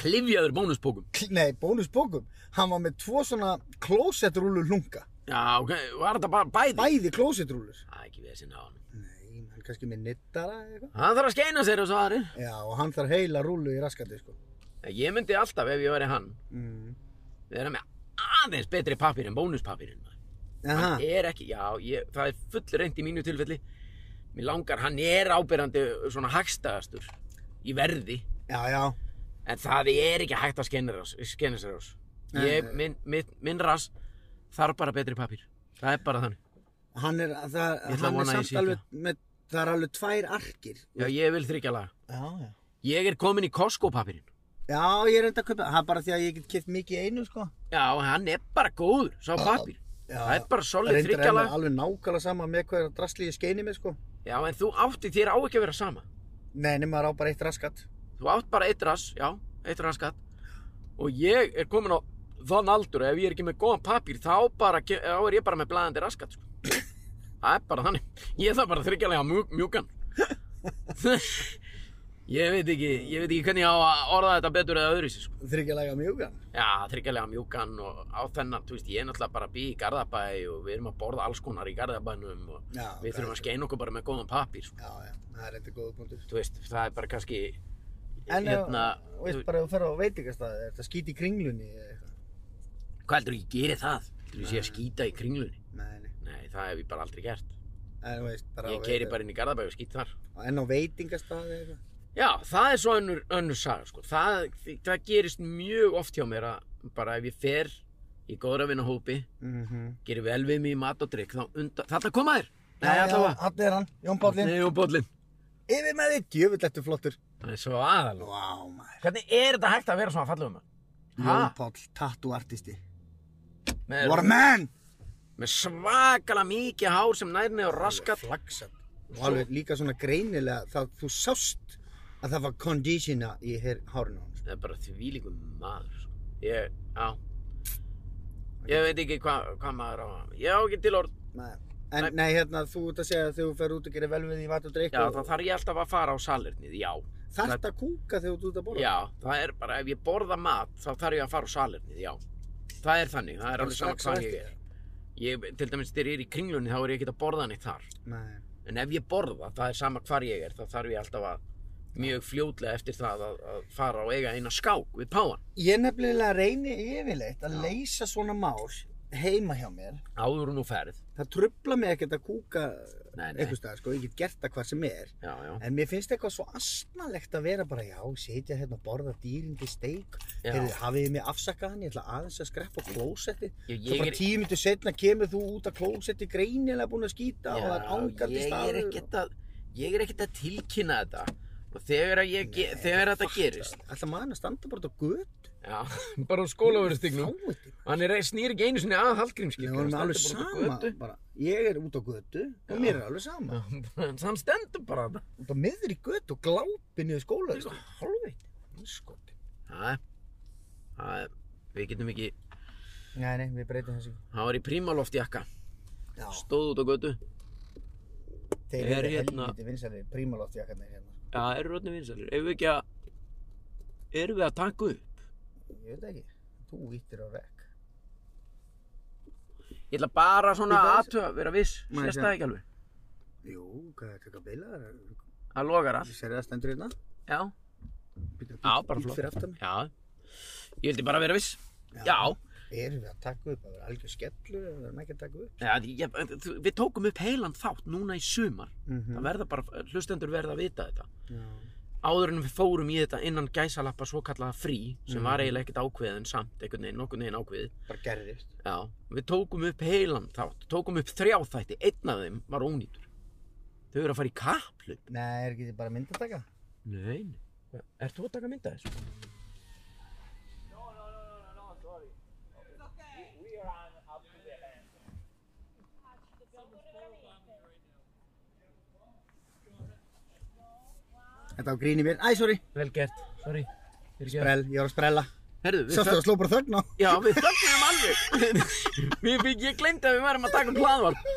Klifjaður bónuspókum. kl- nei, bónusbókum. Hann var með tvo svona klósettrúlu lunga. Já, ok, var þetta bara bæði? Bæði klósettrúlur. Það er ekki við sinna á hann. Nei, hann kannski með nittara eða eitthvað. Hann þarf að skeina sér og svo aðri. Já, og hann þarf heila rúlu í raskandi, sko. Ég myndi alltaf ef ég væri hann. Mm. Við erum með aðeins betri pappir en bónuspapirinn. Aha, Hann er ekki, já, ég, það er full reynd í mínu tilfelli. Mér langar, hann er ábyrjandi svona hagstæðastur í verði. já, já. En það er ekki hægt að skeina rás- skeina sér ás. Ég, minn, minn, minn ras þarf bara betri pappir. Það er bara þannig. Hann er, það, Ég ætla að hann vona er að ég samt sé ekki. alveg með, það er alveg tvær arkir. Já, ég vil þryggja laga. Já, já. Ég er komin í Costco pappirinn. Já, ég er enda að kaupa, það er bara því að ég get keft mikið í einu, sko. Já, hann er bara góður, sá pappir. Já, Það er bara solid Reyndar er þryggjala. mér alveg nákvæmlega sama með hvað er að drasli ég skeini mig, sko. Já, en þú átti þér á ekki að vera sama. Nei, nema það er á bara eitt raskat. Þú átt bara eitt rass, já, eitt raskat. Og ég er komin á þann aldur, ef ég er ekki með góðan pappir, þá, bara, ke- þá er ég bara með blæðandi raskat, sko. Það er bara þannig. Ég þarf bara þryggjalega mjúk, mjúkan. ég veit ekki, ég veit ekki hvernig ég á að orða þetta betur eða öðruvísi, sko. Þryggjalega mjúkan. Já, þryggjalega mjúkan og á þennan, þú veist, ég er náttúrulega bara að býja í Garðabæ og við erum að borða alls konar í Garðabænum og Já, við þurfum að skeina okkur bara með góðan pappir, sko. Já, já, það er enda góða punktur. Þú veist, það er bara kannski, En hérna, ef, þú veist bara að þú fer á veitingastæði, er þetta skít í kringlunni eða eitthvað? hvað heldur ég geri það? Heldur ég sé að skýta í kringlunni? Nei, nei, Nei, það hef ég bara aldrei gert. en þú veist bara Ég keiri bara inn í Garðabæ og skýt þar. bara... En á veitingastæði eitthvað? Já, það er svo önnur, önnur saga, sko. Það, það gerist mjög oft hjá mér að bara ef ég fer í góðra vinna hópi, Mm -hmm. gerir vel við mig í mat og drikk, þá undan, þarna koma þér! Nei, allavega. Hann er hann, Jón Pállin. Nei, og bollin. Yfir með þitt, jöfull ertu flottur. Það er svo aðal. Vá, maður. Hvernig er þetta hægt að vera svona fallegum? Jón Páll, tattoo artisti. Með, What a man! með svakala mikið hár sem nær niður raskat. flaksat og alveg líka svona greinilega það, þú sást að það var conditiona í her, hárinu hans það er bara þvílíkum maður sko. ég, já ég veit ekki hvað hva maður á ég á ekki til orð Nei. En nei, hérna, þú ert að segja að þegar þú fer út og gerir vel við í vat og drikk já, þá þarf ég alltaf að fara á salernið já, þarft að kúka þegar þú ert út að borða. já, það er bara ef ég borða mat þá þarf ég að fara á salernið, já það er þannig, það er alveg sama strax á hvað eftir. ég er ég, til dæmis þegar ég er í kringlunni þá er ég ekki að borða neitt þar Nei. en ef ég borða, það er sama hvar ég er þá þarf ég alltaf að mjög fljótlega eftir það að, að fara og eiga eina skák við páan Ég nefnilega reyni yfirleitt að leysa svona mál heima hjá mér. áður nú ferð Það trubla mig ekkert að kúka Nei, nei. einhvers staðar, sko, ég get gert það hvað sem er. já, já, En mér finnst eitthvað svo asnalegt að vera bara, já, sitja hérna og borða dýrindi steik. Já. Heyrðu, hafið þið mig afsakað hann, ég ætla aðeins að skreppa á klósetti. Ég- Svo ég bara er- tíu myndir setna kemur þú út af klósetti greinilega búin að skýta og það er ángandi ég er staður. ekkert að ég er ekkert að tilkynna þetta og þegar, að ég, Nei, þegar þetta gerist Alltaf maður að standa bara út á gött. já, bara á skólaverustignum Fáið þig. hann er, snýr ekki einu sinni að Hallgrímskirkju Við vorum alveg sama. Bara, ég er út á götu og mér er alveg sama. sama hann stendur bara þarna. Út á miðri götu og glápi niður skóla. Sko, hálfveit Hann er skotinn. það er- það er við getum ekki Nei, nei, við breytum þessu. hann var í prímaloftjakka Já, stóð út á götu þeir Er eru hérna- helviti vinsalir prímaloftjakarnir hérna. já, eru rotni vinsalir erum við ekki að erum við að taka upp Ég veit ekki, þú ítir á rekk. ég ætla bara svona Ég að veit- aðtöða vera viss Nei, sérst það ekki alveg Jú, hvað er þetta að bila? það logar allt Sér það stendur hérna? já Bíddu, Já, bíddu, bara bíddu flott. fyrir aftan mig. Já, ég vildi bara vera viss. Já, Erum við að taka upp? Það er algjör skellur eða við erum ekki að taka upp? Já, ég, þú- við tókum upp heilan þátt núna í sumar. Mhm. Það verða bara, hlustendur verða að vita þetta. Já. Áður en við fórum í þetta innan gæsalappa svo kallaða frí, Mhm. sem var eiginlega ekkert ákveðin samt, einhvern veginn, nokkurn veginn ákveðið. Bara gerðist. Já, við tókum upp heilan þátt, tókum upp þrjá þætti, einn af þeim var ónýtur. Þau eru að fara í kaplu. Nei, er ekki þið bara mynd að taka? Nei, nei. Er þú að taka mynda þessu? Þetta á gríni mér. Æ, sorry. Vel gert, sorry. Sprell, ég var að sprella. Herðu, við Sástu að sló bara þögn á. Já, við þögnum alveg. Mér fikk, ég gleymdi að við værum að taka um hlaðvarp.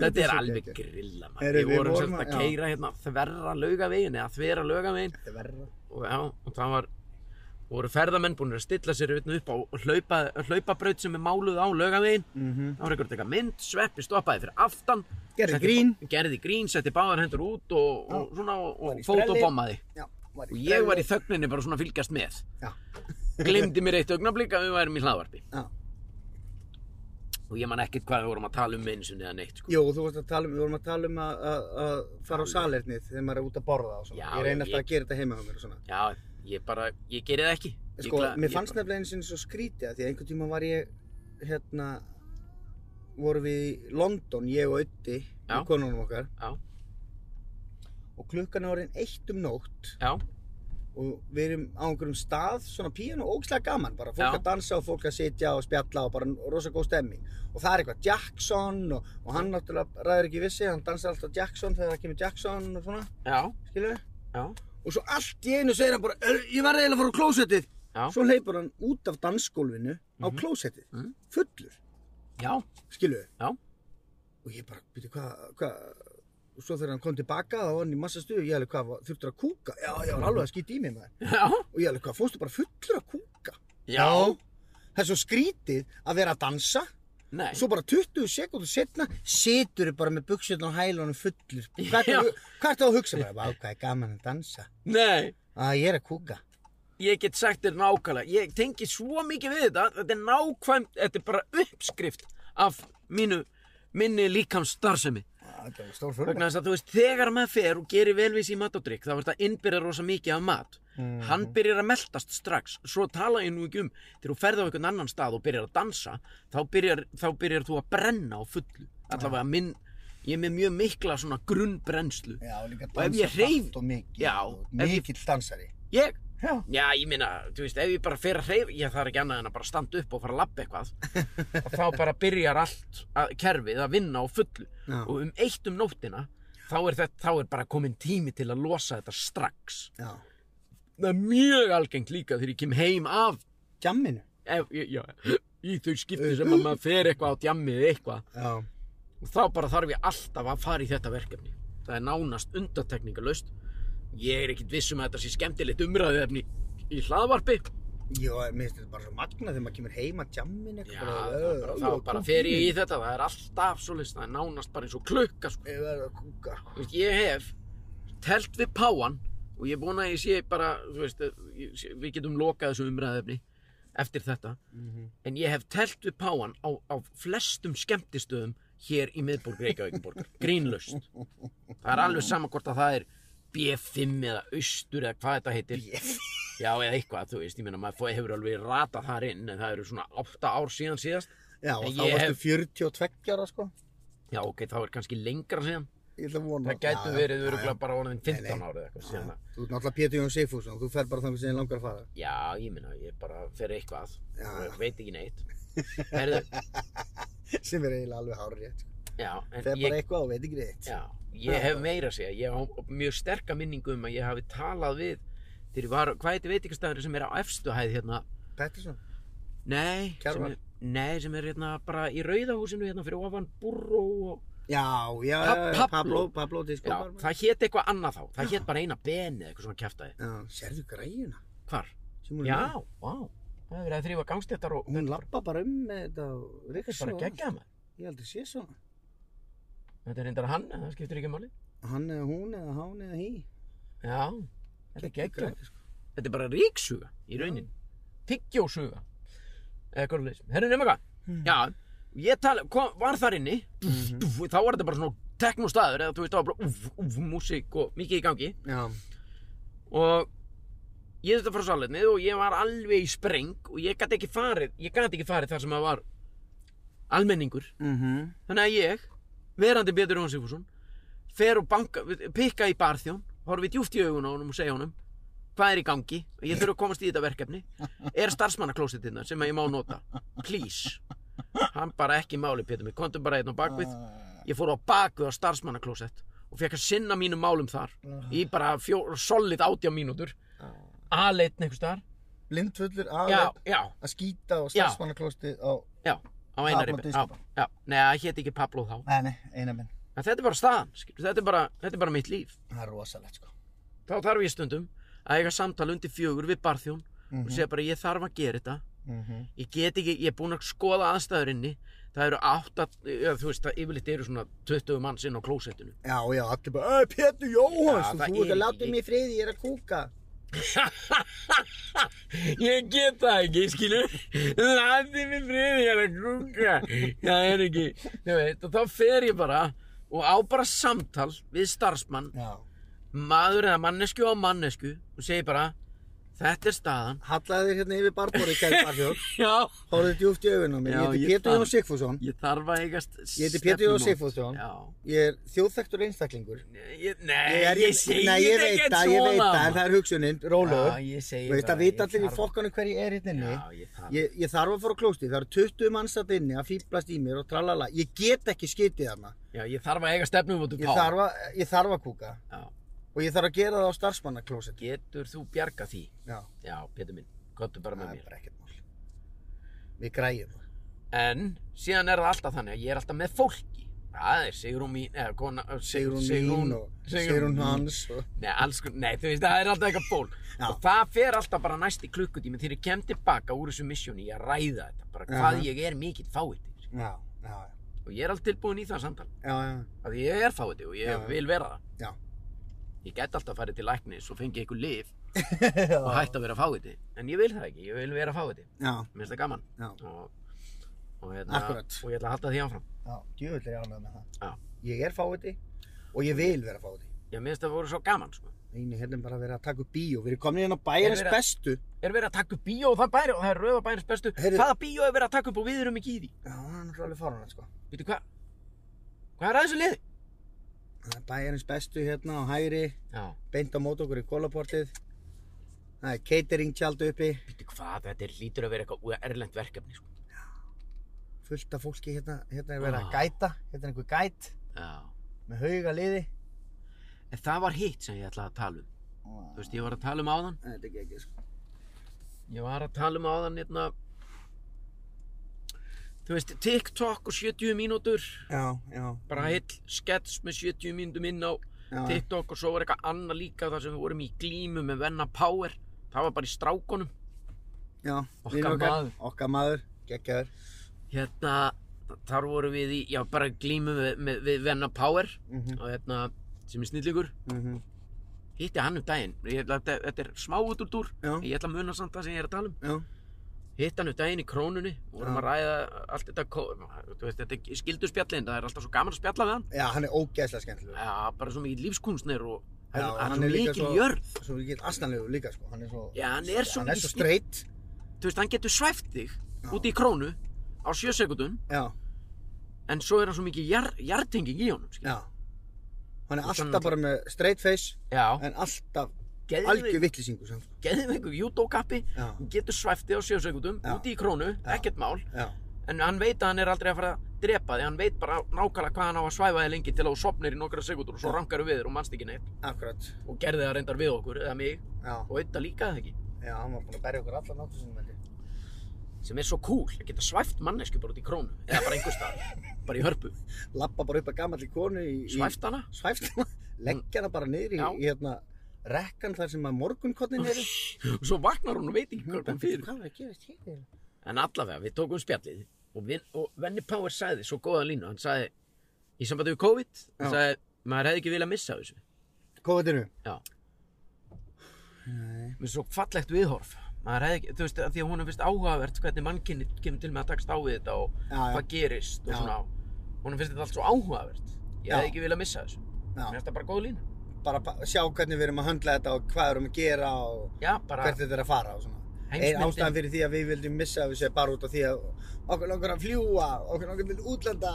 Þetta er svo alveg geggjað. grilla, maður. Heyrðu, Við við vorum vorum sérst að- að já. keira hérna þverra laugavegin eða þverra laugavegin Þetta er verra. og já, og það var, voru ferðamenn búin að stilla sér hérna upp á hlaupa, hlaupabraut sem er máluð á laugavegin. Mhm. Það var einhvern veginn mynd, sveppi stoppaði fyrir aftan. Gerði setti- grín. Gerði grín, setti báðar hendur út og, og svona og, Var í og sprelli. fótobommaði. Já, var Og ég var í þögninni bara svona að fylgjast með. Já. Glemdi mér eitt augnablík að við værum í hlaðvarpi. Já. og ég man ekkert hvað við vorum að tala um einu sinni eða neitt sko. Jó, þú varst að tala um, við vorum að tala um að, að, að fara á salernið þegar maður er út að borða og svona. Já, ég reyni ég- alltaf að gera þetta heima hjá mér og svona. já, ég bara, ég geri það ekki Ég Sko, gla- mér ég fannst bara- nefnilega einu sinni svo skrítið að því að einhvern tíma var ég, hérna, vorum við í London, ég og Ötti, Já. með konunum okkar. Já. Og klukkan er orðin eitt um nótt já, og við erum á einhverjum stað, svona pían og ógislega gaman bara. Fólk Já. að dansa og fólk að sitja og spjalla og bara rosa góð stemming. Og það er eitthvað Jackson og, og hann náttúrulega ræður ekki vissi, hann dansar alltaf Jackson þegar það kemur Jackson og svona, já, skiljuðu? já, og svo allt í einu segir hann bara "Er, ég verði eiginlega að fara á klósettið Já. svo hleypur hann út af dansgólfinu á klósettið Mhm. fullur, já, skilu Já. og ég bara, býtu hvað hva? og svo þegar hann kom tilbaka þá var hann í massa stuðu, ég alveg hvað, þurftur að kúka já, ég var alveg að skýta í mig maður já, og ég alveg hvað, fórstu bara fullur að kúka já, það er svo skrítið að vera að dansa nei, og svo bara 20 sekundur setna situr bara með buksutna á hælunum fullur hvað Já. er það að hugsa bara, "Vá, hvað er gaman að dansa nei, að ég er að kúka ég get sagt þér nákvæmlega, ég tengi svo mikið við þetta, þetta er nákvæmt, þetta er bara uppskrift af mínu, minni líkams starfsemi. Þetta var stór vegna þess að þú veist, þegar maður fer og gerir velvísi í mat og drikk, þá er þetta innbyrjar rosa mikið af mat. Hann byrjar að meltast strax, svo tala ég nú ekki um, þegar þú ferð á einhvern annan stað og byrjar að dansa, þá byrjar, þá byrjar þú að brenna á fullu. Allavega minn, ég er með mjög mikla svona grunnbrennslu. Já, líka Og ef ég dansa hreyf- hratt og mikið. Já, og ef ég- Mikill dansari. Ég, Já. já, ég minna, þú veist, ef ég bara fer að hreyfa, ég þarf ekki annað en að bara standa upp og fara að labba eitthvað, og þá bara byrjar allt að, kerfið að vinna á fullu. Já. Og um eitt um nóttina, þá er, þetta, þá er bara komin tími til að losa þetta strax. Já. það er mjög algengt líka þegar ég kem heim af Gjamminu. ef, ég- já, í þau skipti sem að maður fer eitthvað á djammið eða eitthvað Já. og þá bara þarf ég alltaf að fara í þetta verkefni það er nánast undatekningalöst ég er ekkit viss um að þetta sé skemmtilegt umræðuefni í hlaðvarpi já, Jó, mér finnst þetta bara svo magna þegar maður kemur heim að djamminu eitthvað. það er bara, þá bara fer ég í þetta það er alltaf svo það er nánast bara eins og klukka sko. Ég verður að kúka. Þú veist, ég hef telt við páan og ég er búin að ég sé bara þú veist, eh, ég sé, við getum lokað þessu umræðuefni eftir þetta en ég hef telt við páan á, á flestum skemmtistöðum hér í miðborg Reykjavíkborgar, grínlaust það er alveg sama hvort að það er B5 eða austur eða hvað þetta heitir B5? já eða eitthvað þú veist, ég meina maður fó- hefur alveg ratað þar inn en það eru svona 8 ár síðan síðast Já, og En þá ég varstu hef- 42 ára, sko. já ok, þá er kannski lengra síðan Ég ætla að vona. það gætu Já, verið já, öruglega bara orðin 15 Nei, árið eitthvað já. síðan að Þú ert náttúrulega Pétur Jón Seifússon, þú fer bara þannig sem ég langar að fara. Já, ég minna, ég bara fer eitthvað Já. og veit ekki neitt. Herðu, Sem er eiginlega alveg hárið rétt. já, en Fer bara ég, eitthvað og veit ekki rétt. já, ég hef meira að segja, ég á mjög sterka minningu um að ég hafi talað við þegar ég var, hvað heitir veitingastæðurinn sem er á efstu hæð hérna? Pettersson? Nei, sem Kjarval. er, nei, sem er hérna bara í Rauðahúsinu hérna fyrir ofan Burro og... Já, já, Pa- já, Pablo. Pablo, Pablo Disco Já, Barman. það hét eitthvað annað þá, það hét bara eina beni eða eitthvað svona kjæftæði. Já, sérðu græjuna Hvar? sem hún er Já, með? vá, það hefur verið að þrýfa gangstéttar og... Hún lappa bara um með þetta og Þetta reyka er bara geggjað maður. Ég hef aldrei sé svona. Þetta er reyndar hann, en það skiptir ekki máli. Hann eða hún eða hán eða hí. Já, þetta er geggjað. Græja, sko. Þetta er bara ríksuga í raunin Tyggjósuga Eða hvað er leys Herru nema hvað Já Ég tala kom, Var þar inni dúf, dúf, Þá var þetta bara svona Teknostaður Eða þú veist Það var bara Úf, úf, músík Og mikið í gangi Já, Og Ég þurfti að fara á salerni Og ég var alveg í spreng Og ég gæti ekki farið Ég gæti ekki farið þar sem að var Almenningur mhm, Þannig að ég Verandi Betur Jón Sigfússon Fer og banka Pikka í barþjón Horfi djúft í augun á honum og segja honum hvað er í gangi, ég þurfa að komast í þetta verkefni er starfsmannaklósittina sem ég má nota please hann bara ekki máli Pétur mig, komdu bara einn á bakvið ég fór á bakvið á starfsmannaklósett og fekk að sinna mínum málum þar í bara fjó, solid átjá mínútur aðleitt einhvers þar Blindfullur já, aðeins já, að skýta á Já. starfsmannaklostið á... já, á einari Pablo já, Disco. já, neða, hétt ekki Pablo þá Nei, nei, eina minn. en þetta er bara staðan, skilur, þetta er bara, þetta er bara mitt líf Það er rosalegt, sko. þá þarf ég stundum að eiga samtal undir fjögur við barþjón og segja bara ég þarf að gera þetta Mhm. ég get ekki, ég er búinn að skoða aðstæður inni það eru átta, eða, þú veist það yfirleitt eru svona 20 manns inn á klósettinu já, já, allir bara, "Ey, Pétur Jóhans, Já, og þú ert það er að ekki- láta mig í friði, ég er að kúka. ég get það ekki, skilu landi mig friði, ég er að grunga það er ekki, þú veit og þá fer ég bara og á bara samtal við starfsmann Já. maður eða mannesku á mannesku og segi bara, þetta er staðan Hallaði þér hérna yfir barborið, kæri barþjóð, já, horfðu djúft í augun á mig. Já, Ég heiti ég ah. Pétur Jón fann- Sigfússon, ég þarf að eigast ég heiti Pétur Jón Sigfússon, já, ég er þjóðþektur einstaklingur. ég, nei, Ég, er, ég, segi nei, ég þetta veit ekkert það, ég veit það, svona, en maður. það er hugsunin, rólegur. Já, ég segi Þú veist, það bara, vita ég allir í þarf- fokkanum hverju er hérna inni. Já, ég þarf- Ég, ég þarf að fara á klósti, það eru 20 manns að inni að fýblast í mér og tralala. Ég get ekki skitið þarna. Já, ég þarf að eiga stefnum út úr Ég pá. þarf, að, ég þarf að kúka Já, og ég þarf að gera það á starfsmannaklósett. getur þú bjarga því? Já, Já, Pétur minn, gottu bara það með er mér. bara ekkert mál. Við græjum það. En síðan er það alltaf þannig að ég er alltaf með fólki. Það er Sigrún mín, eða kona, eh, Sig- Sigrún mín og Sigrún hans. Og... Nei, alls, kon- nei, þú veist, það er alltaf eitthvað ból. Já. Og það fer alltaf bara næst í klukkutími þegar ég kem tilbaka úr þessu missjóni, ég ræða þetta, bara hvað Aha. ég er mikill fáitir. Já, já, já. Og ég er alltaf tilbúin í það samtal, Já, já, að ég er fáitir og ég Já. vil vera það. já. Ég get alltaf farið til læknis og fengið eitthvað lif Já, og hætt að vera fáitir. En ég vil það ekki, ég vil vera fáitir. já, Mér finnst það gaman. já. og, og, hérna, Akkúrat. og ég ætla að halda því áfram já. Djöfull er ég ánægð með það. Já. Ég er fáiði og ég vil vera fáiði. ég minnst að það voru svo gaman sko. Einu hérna er bara verið að taka upp bíó. Við erum komin hérna á bæjarins Er verið að- bestu. er verið að taka upp bíó og það, bæri, og það er rauða bæris bestu Heyrðu- hvaða bíó er verið að taka upp og við erum ekki í því Já, það er náttúrulega alveg fáránlegt sko. veitu hvað hvað er að þessu liði Það er bæjarins bestu hérna á hægri, já beint á mót okkur í kólaportið. Það er catering tjald uppi, veitu hvað þetta er lítur að vera eitthvað erlend verkefni sko. fullt af fólki hérna, hérna er verið að Ah. gæta, hérna er einhver gæt já með hauga liði. en það var hitt sem ég ætlaði að tala um Þú veist, ég var að tala um áðan Þetta er ekki sko. Ég var að tala um áðan hérna Þú veist, TikTok og 70 mínútur Já, já. Bara heill skets með 70 mínútum inn á já. TikTok og svo var eitthvað annað líka þar sem við vorum í glímu með Venna Power Það var bara í strákonum Já. Okkar vinur maður. Okkar maður, geggjaður. Hérna, þar vorum við í, já, bara glímu með, með, við Venna Power Mm -hmm. og hérna, sem er snillingur Mm -hmm. Hitti hann um daginn, ég, ætla- þetta, þetta er smá út úr dúr Já. Ég ætla að muna samt það sem ég er að tala um Já. Hitt hann um daginn í krónunni og vorum Já. að ræða allt þetta kó- Þú veist, þetta er skildu spjallin, það er alltaf svo gaman að spjalla við hann Já, hann er ógeðslega skemmtilegur. Já, bara svo mikið lífskunstnir og Já, hann, hann hann er er svo líka mikil svo- jörð Svo ekki astanlegur líka, sko. Hann er svo... Já, hann er svo Hann er svo mikið straight. Þú veist, hann getur svæft þig Já. úti í krónu á sjö sekundum Já, en svo er hann svo mikið jar, jartenging í honum skilur. já. Hann er Og svo alltaf bara með straight face, Já, en alltaf algjör geðum vitlisingu, sem. einhver júdókappi Já, hann getur svæft þig á sjö sekundum Já. úti í krónu, Já. ekkert mál já. en hann veit að hann er aldrei að fara að drepa þig hann veit bara nákvæmlega hvað hann á að svæfa þig lengi til að þú sopnir í nokkra sekundur og svo Já. rangar við þér og mannst ekki neitt Akkurat. og gerði það reyndar við okkur, eða mig Já, og auðvitað líka það ekki já, hann var búinn að berja okkur allar náttu sinni, veldi. sem er svo cool, að geta svæft mannesku bara út í krónu eða bara einhver stað, bara í hörpu Lappa bara upp að gamalli konu í... í- svæft hana Svæft hana. Leggja hana bara niður í, Já. í hérna, rekkan þar sem að morgunkotnin eru. og svo vaknar hún og veit ekki hvað hún fyrir Hvað er að gerast hér? en allavega, við tókum spjallið og, vin, og Venni Power sagði svo góða línu hann sagði, í sambandi við COVID hann Já. sagði, maður hefði ekki viljað missa af þessu Kóðinu. já, Nei. með svo fallegt viðhorf maður hefði ekki, þú veist, að því að hún finnst áhugavert hvernig mannkinni kemur til með að takast á við þetta og Já, já. hvað gerist og Já. svona hún finnst þetta allt svo áhugavert ég Já. hefði ekki viljað missa af þessu, mér Já, finnst það bara góð lína bara pa- sjá hvernig við erum að höndla þetta og hvað við erum að gera og já, bara hvert þetta er að fara og svona. Ein ástæðan heimsmyndin fyrir því að við vildum missa af þessu er bara út af því að okkur langar að fljúa, okkur langar til útlanda,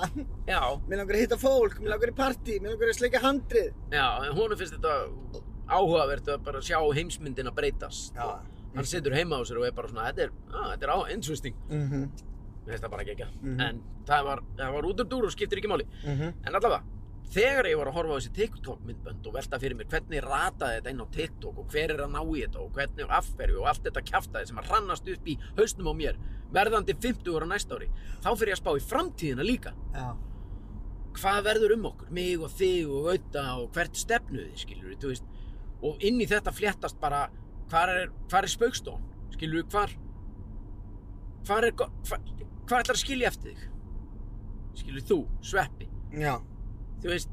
já, mér langar að hitta fólk, mér langar í partí, mér langar að sleika handrið. já, hún finnst þetta áhugavert að bara sjá heimsmyndin að breytast og hann situr heima á sér og er bara svona þetta er, á, þetta er á, interesting Mm -hmm. mér finnst það bara ekki ekki Mhm. en það var, það var út um dúr og skiptir ekki máli Mm -hmm. en allavega þegar ég var að horfa á þessi TikTok myndbönd og velta fyrir mér hvernig rataði þetta inn á TikTok og hver er að ná í þetta og hvernig og afferju og allt þetta kjaftaði sem að rannast upp í hausnum á mér verðandi 50 ára næsta ári þá fyrir ég að spá í framtíðina líka Já. hvað verður um okkur, mig og þig og auða og hvert stefnuði, skilur við, þú veist og inn í þetta fléttast bara hvar er, hvar er spaukstón, skilur við, hvar hvar er, go- hvar, hvar ætlar að skilja eftir þig skilur við, þú, sveppi Já. þú veist,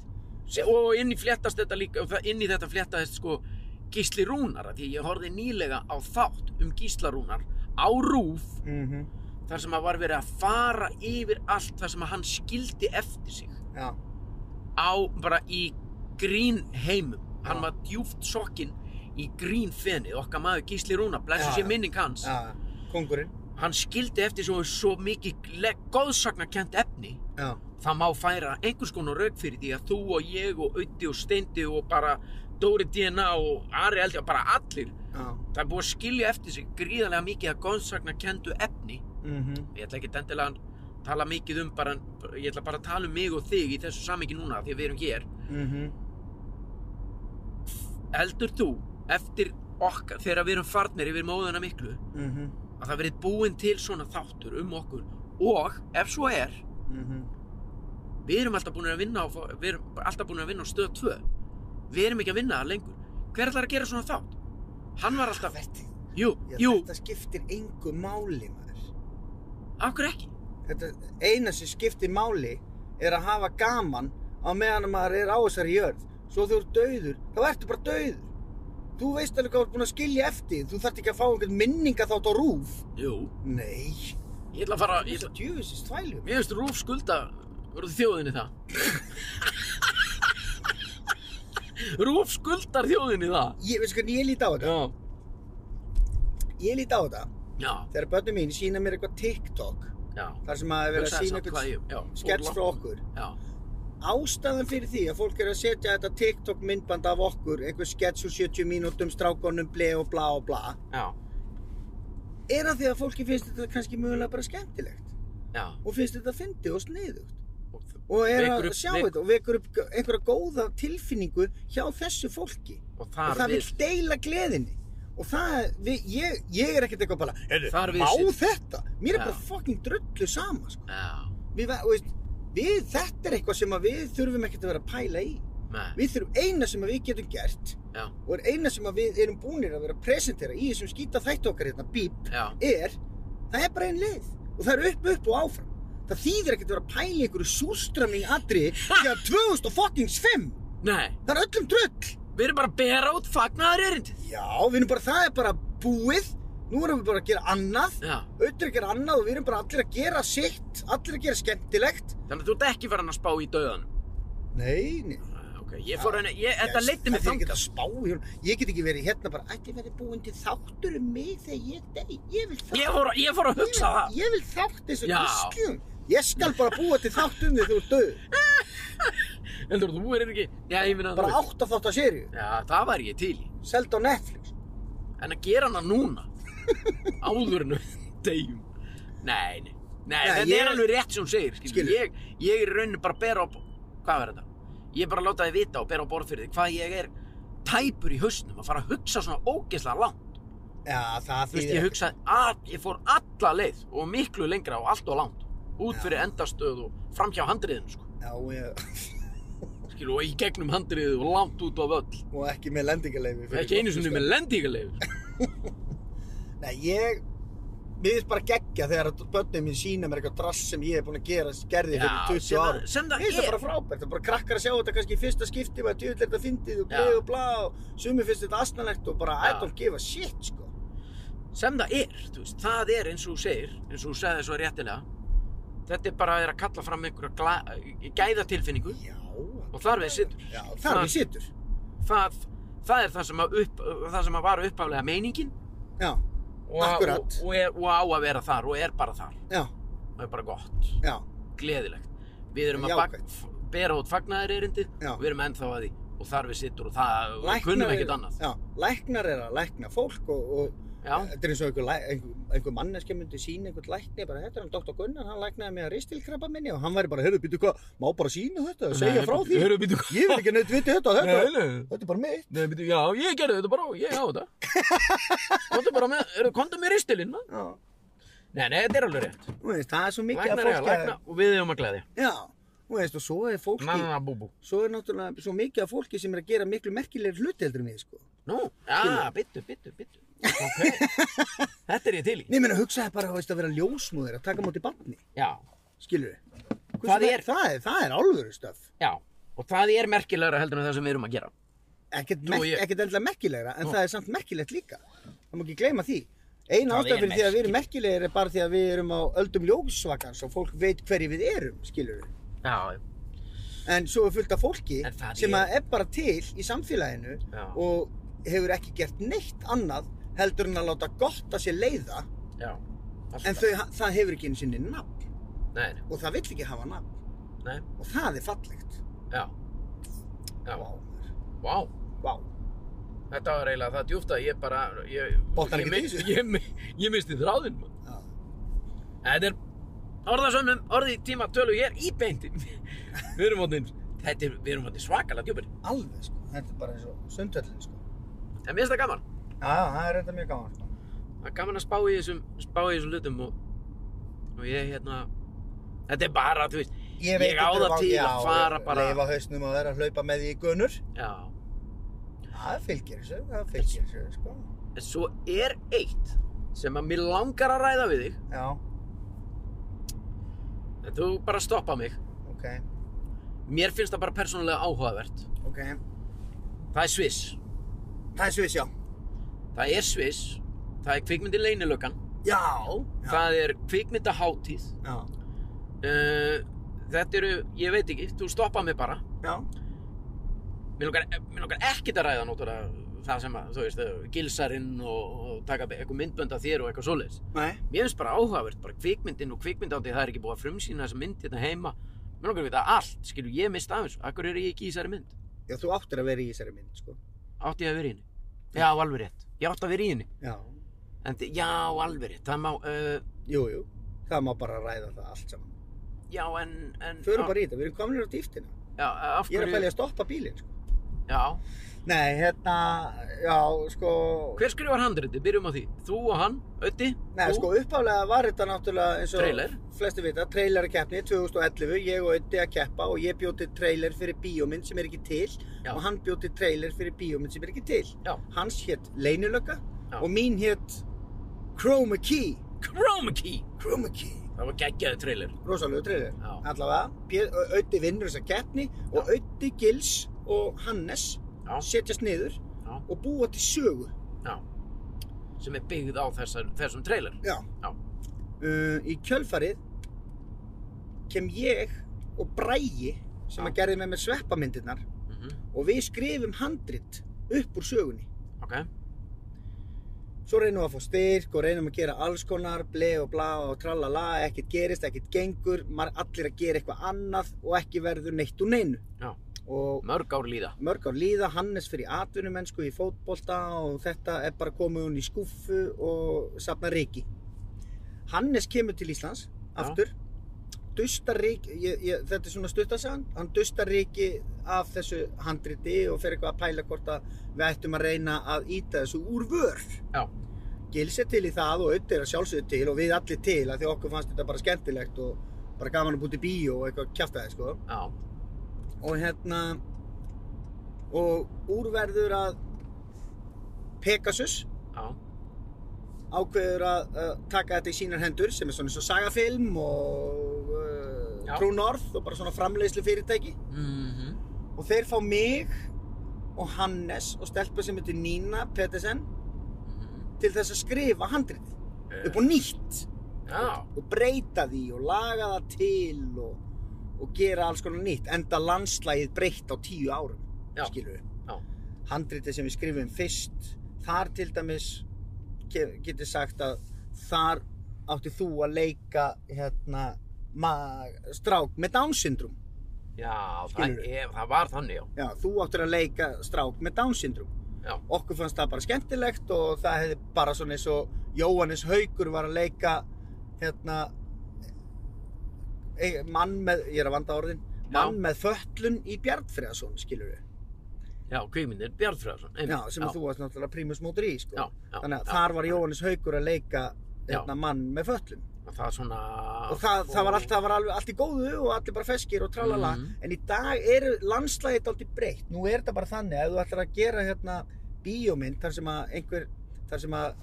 se- og inn í fléttast þetta líka, og það- inn í þetta fléttaðist sko Gísli Rúnar, af því ég horfði nýlega á þátt um Gísla Rúnar á rúf, Mm -hmm. þar sem að var verið að fara yfir allt þar sem að hann skildi eftir sig Já. á bara í grín heimum hann Já. var djúft sokkinn í grín fenið okkar maður Gísli Rúna, blessu Já, sér já. minning hans Já. Kongurinn. hann skildi eftir svo, svo mikið góðsagnarkent efni Já. það má færa einhvers konar rauk fyrir því að þú og ég og Ötti og Steindi og bara Dóri DNA og Ari Eldi og bara allir Já. það er búið að skilja eftir sig gríðarlega mikið að góðsagnarkentu efni Mm -hmm. ég ætla ekki dendilega að tala mikið um bara, ég ætla bara að tala um mig og þig í þessu samingi núna af því að við erum hér Mm -hmm. heldur þú eftir okkar þegar við erum farnir yfir móðuna miklu Mm -hmm. að það verið búin til svona þáttur um okkur og ef svo er Mm mhm. -hmm. við erum alltaf búin að vinna á, við erum alltaf búin að vinna á stöð 2 við erum ekki að vinna það lengur hver ætlar að gera svona þátt? hann var alltaf, jú, jú, Þetta skiptir engu máli, maður. af hverju ekki? þetta eina sem skiptir máli er að hafa gaman á meðan að maður er á þessari jörð svo þú ert dauður, þá ertu bara dauður þú veist alveg hvað þú ert búin að skilja eftir þú þarft ekki að fá einhvern minninga þátt á rúf jú, nei ég ætla að fara ég þess ætla, að djöfisist þvælu mér finnst rúf skulda voruð þjóðinni það rúf skuldar þjóðinni það ég veist hvernig ég líti á þetta já, ég líti á þetta já, þegar börnum mín sína mér eitthvað TikTok já þar sem að vera að Hugsaði sína samt hvað eitthvað ég- já, skets fór frá langt. okkur já, ástæðan fyrir því að fólk er að setja þetta TikTok myndband af okkur einhver skets úr 70 mínútum strákonum ble og bla og bla já, er að því að fólki finnst þetta kannski mögulega bara skemmtilegt já og finnst þetta fyndi og sniðugt og og er Vekur að upp- sjá vek- þetta og vekur upp einhverja góða tilfinningu hjá þessu fólki og og þar það Ah, við vil deila gleðinni og það, við, ég, ég er ekkert eitthvað bara heyrðu, Þar við má sit- þetta, mér er Já. bara fucking drullu sama sko. Já, við, ve- þú veist, við, þetta er eitthvað sem að við þurfum ekkert að vera að pæla í með, við þurfum eina sem að við getum gert já, og er eina sem að við erum búinir að vera að presentera í þessum skýta þætti okkar hérna, bíp, já, er það er bara einn leið og það er upp, upp og áfram það þýðir ekkert að vera að pæla í einhverju sústramning atri þegar 2005 nei það er öllum drull Við erum bara að bera út fagnaðar erindið Já, við erum bara, það er bara búið Nú erum við bara að gera annað Já, Auðvitað er að gera annað og við erum bara allir að gera sitt Allir að gera skemmtilegt þannig að þú ert ekki farin að spá í döðanum Nei, nei Já, Ok, ég fór henni, ég, þetta Yes, leiddi mig það er ekki þangað að spá í honum. Ég get ekki verið hérna bara Ætti verið búin til þáttur um mig þegar ég dey Ég vil þátt Ég fór, að- ég fór að hugsa ég, það ég vil þátt þessu Já. diskjum Ég skal bara búa til þátt um þig þegar þú ert döð Heldur þú er ekki Já, ég minna Bara átt að þátt að séri Já, það var ég til í Seld á Netflix En að gera hana núna Áður en við deyjum Nei, nei, nei, Nei, þetta ég- er alveg rétt sem hún segir skilur. Skilur. Ég, ég er í rauninni bara að bera á bo- Hvað var þetta? Ég er bara að láta þið vita og bera á borð fyrir þið Hvað ég er tæpur í hausnum Að fara að hugsa svona ógeðslega langt Já, það Þú veist, ég þýðir hugsaði að ég fór alla leið og miklu lengra og allt og langt út fyrir endastöð og fram hjá handriðinu sko. ekki- Já, ég, Skilu, og í gegnum handriðið og langt út á völl og ekki með lendingarleifi fyrir ekki einu gott sinni fiskar. með lendingarleif sko. Nei, ég Mér finnst bara geggja þegar að börnum mín sína mér eitthvað drass sem ég hef búin að gera gerði fyrir 20 sem, árum. það- sem Mér það finnst það er bara frábært, það er bara krakkar að sjá þetta kannski í fyrsta skipti og að djöfull er þetta fyndið og bleið Já. og blá og sumi finnst þetta asnalegt og bara I Já. don't give a shit, sko. sem það er, þú veist, það er eins og þú segir eins og þú segði svo réttilega þetta er bara að er að kalla fram einhverja gla- gæðatilfinningu Já, og þar við sittur já þar Það- við situr. það, það er það sem, að upp, það sem að var uppaflega meiningin Já, og, Akkurat. og, og, er, og á að vera þar og er bara þar já, það er bara gott já, gleðilegt við erum að bak, Jákvætt. f- bera út fagnaðar erindi Já. og við erum ennþá að því og þar við sittur og það og við Læknar kunnum eru- ekkert annað já. Læknar er að lækna fólk og, og já, þetta er eins og einhver, læ- einhver, einhver manneskja myndi sína einhvern lækni, bara þetta er hann Dr. Gunnar, hann læknaði mig að ristilkrabba minni og hann væri bara, heyrðu, býtu hvað, má bara sína þetta, segja frá því, Heru, býtu, ég vil ekki neitt viti þetta, þetta, nei, nei, þetta er bara mitt. nei, býtu, já, ég gerði þetta bara og ég á þetta komdu bara með, heru, komdu með ristilinn maður. Já, nei, nei, þetta er alveg rétt þú veist, það er svo mikið læknar er að að fólki, lækna og við erum að gleði að- já, þú veist, og svo er fólki, nanna búbú svo er náttúrulega svo mikið að fólki sem er að gera miklu merkilegri hluti heldur en við, sko. nú, já, byttu, byttu, byttu ok, þetta er ég til í Nei, menn, hugsaði bara, þú veist, að vera ljósmóðir, að taka á móti barni, já, skilur Það er- það er, það er alvöru stöf. já, og það er merkilegra heldur en það sem við erum að gera ekkert, Nú, merk, ég- ekkert endilega merkilegra en Nú. það er samt merkilegt líka það má ekki gleyma því eina Það ástæð er fyrir því að við erum merkilegir er bara því að við erum á öldum ljósvakans og fólk veit hverju við erum, skilur við já, en svo er fullt af fólki En það sem er- að er bara til í samfélaginu Já. og hefur ekki gert neitt annað heldur en að láta gott að sér leiða já en þau, það hefur ekki einu sinni nafn nei, nei, og það vill ekki hafa nafn nei, og það er fallegt já já, Vá, maður. Vá, Vá. þetta var eiginlega það djúft að ég bara, ég, Botnar ég, ekkert í ég, þessu. ég, mi- ég misti þráðinn. maður. Já. Þetta er orðasönnum, orði tíma tölu, ég er íbeint. við erum áttin, þetta er, við erum áttin svakalega djúpir. alveg sko, þetta er bara eins og sundhöllin sko En mér finnst það gaman. já, það er þetta mjög gaman sko Það er gaman að spá í þessum, spá í þessum hlutum og, og ég, hérna, þetta er bara, þú veist, ég, veit Ég á þetta það er til já, að fara bara- leifa hausnum að vera að hlaupa með því í gunur já. það fylgir þessu, það fylgir þessu sko. En svo er eitt sem að mér langar að ræða við þig, já, en þú bara stoppa mig. ok, Mér finnst það bara persónulega áhugavert. ok Það er Sviss. það er svis, já Það er Sviss, það er kvikmyndi leynilökan, já, já, það er kvikmyndahátíð. já, Uh, þetta eru, ég veit ekki, þú stoppa mig bara. já. Mér lukkar, mér lukkar ekkert að ræða náttúrulega það sem að, þú veist, uh, gilsarinn og, og taka be- eitthvað myndbönd af þér og eitthvað svoleiðis. nei, Mér finnst bara áhugavert, bara kvikmyndin og kvikmyndáttið, það er ekki búið að frumsýna þessa mynd hérna heima. Mér lukkar að vita allt, skilju, ég mist af þessu. Akkur er ég ekki í þessari mynd? já, þú áttir að vera í þessari mynd sko. Átti ég að vera í henni? Já, alveg rétt. Ég átti að vera í henni. já, En, þi- já, alveg rétt. Það má, uh, jú, jú það má bara ræða það allt saman já, en... en förum bara í þetta, við erum komin á dýftina Já, eh, af ég er Ah. hverju... að fælja að stoppa bílinn sko. Já. Nei, hérna, já, sko, Hver skrifar handritið? Byrjum á því. Þú og hann, Ötti? nei, þú? sko, uppálega var þetta náttúrulega eins og Trailer. flesti vita, trailerakeppni 2011, ég og Öddi að keppa og ég bjóti trailer fyrir bíómynd sem er ekki til Já. og hann bjóti trailer fyrir bíómynd sem er ekki til. Já. Hans hétt Leinulöka Já. og mín hétt Chroma Key, Chroma Key! Chroma Key, Það var geggjaði trailer. rosalegu trailer. Já. Allavega, Bjö- Öddi vinnur þessa keppni og Öddi Gils og Hannes Já. setjast niður Já. og búa til sögu. Já. Sem er byggð á þessar, þessum trailer. Já. Já. Uh, í kjölfarið kem ég og Brægi sem Já. að gerði með mér sveppamyndirnar Mm og við skrifum handrit upp úr sögunni. Ok. Svo reynum við að fá styrk og reynum að gera alls konar, ble og bla og tralala, ekkert gerist, ekkert gengur, maður allir að gera eitthvað annað og ekki verður neitt úr neinu. Já. Og Mörg ár líða. mörg ár líða, Hannes fyrir atvinnumennsku í fótbolta og þetta er bara komið hún í skúffu og safna reiki. Hannes kemur til Íslands, aftur, dustar reiki, ég, ég, þetta er svona stuttasagan, hann dustar reiki af þessu handriti og fer eitthvað að pæla hvort að við ættum að reyna að íta þessu úr vör. Já. Gils er til í það og auðvitað er að sjálfsögðu til og við allir til að því að okkur fannst þetta bara skemmtilegt og bara gaman að búti bíó og eitthvað kjaftaði sko Já. og hérna og úrverður að Pegasus Já. ákveður að uh, taka þetta í sínar hendur sem er svona eins og sagafilm og uh, Já. True North og bara svona framleiðslu fyrirtæki Mm og þeir fá mig og Hannes og stelpa sem heitir Nína Pettersen Mhm. til þess að skrifa handrið upp á nýtt Já. og breyta því og laga það til og, og gera alls konar nýtt enda landslægið breytt á tíu árum Já. skilur Já. við handritið sem við skrifum fyrst þar til dæmis ge- getur sagt að þar átti þú að leika hérna ma- strák með Down syndrom Já, það, Skilurðu? er, það var þannig, já. já, þú áttir að leika strák með Down syndrom Já. okkur fannst það bara skemmtilegt og það hefði bara svona eins og Jóhannes Haugur var að leika hérna e- mann með, ég er að vanda orðin mann með föllun í Bjarnfriðarsson skilur við, Já, kvíminir Bjarnfræðarsson. já, sem þú varst náttúrulega prímus mótur í, sko Já, já, þannig að já. þar var Jóhannes Haugur að leika Já. hérna, mann með föllun Það er svona... og það, það var allt, það var alveg, allt í góðu og allir bara feskir og tralala Mhm. en í dag er landslægið aldrei breytt nú er þetta bara þannig að ef þú ætlar að gera hérna bíómynd þar sem að einhver þar sem að uh,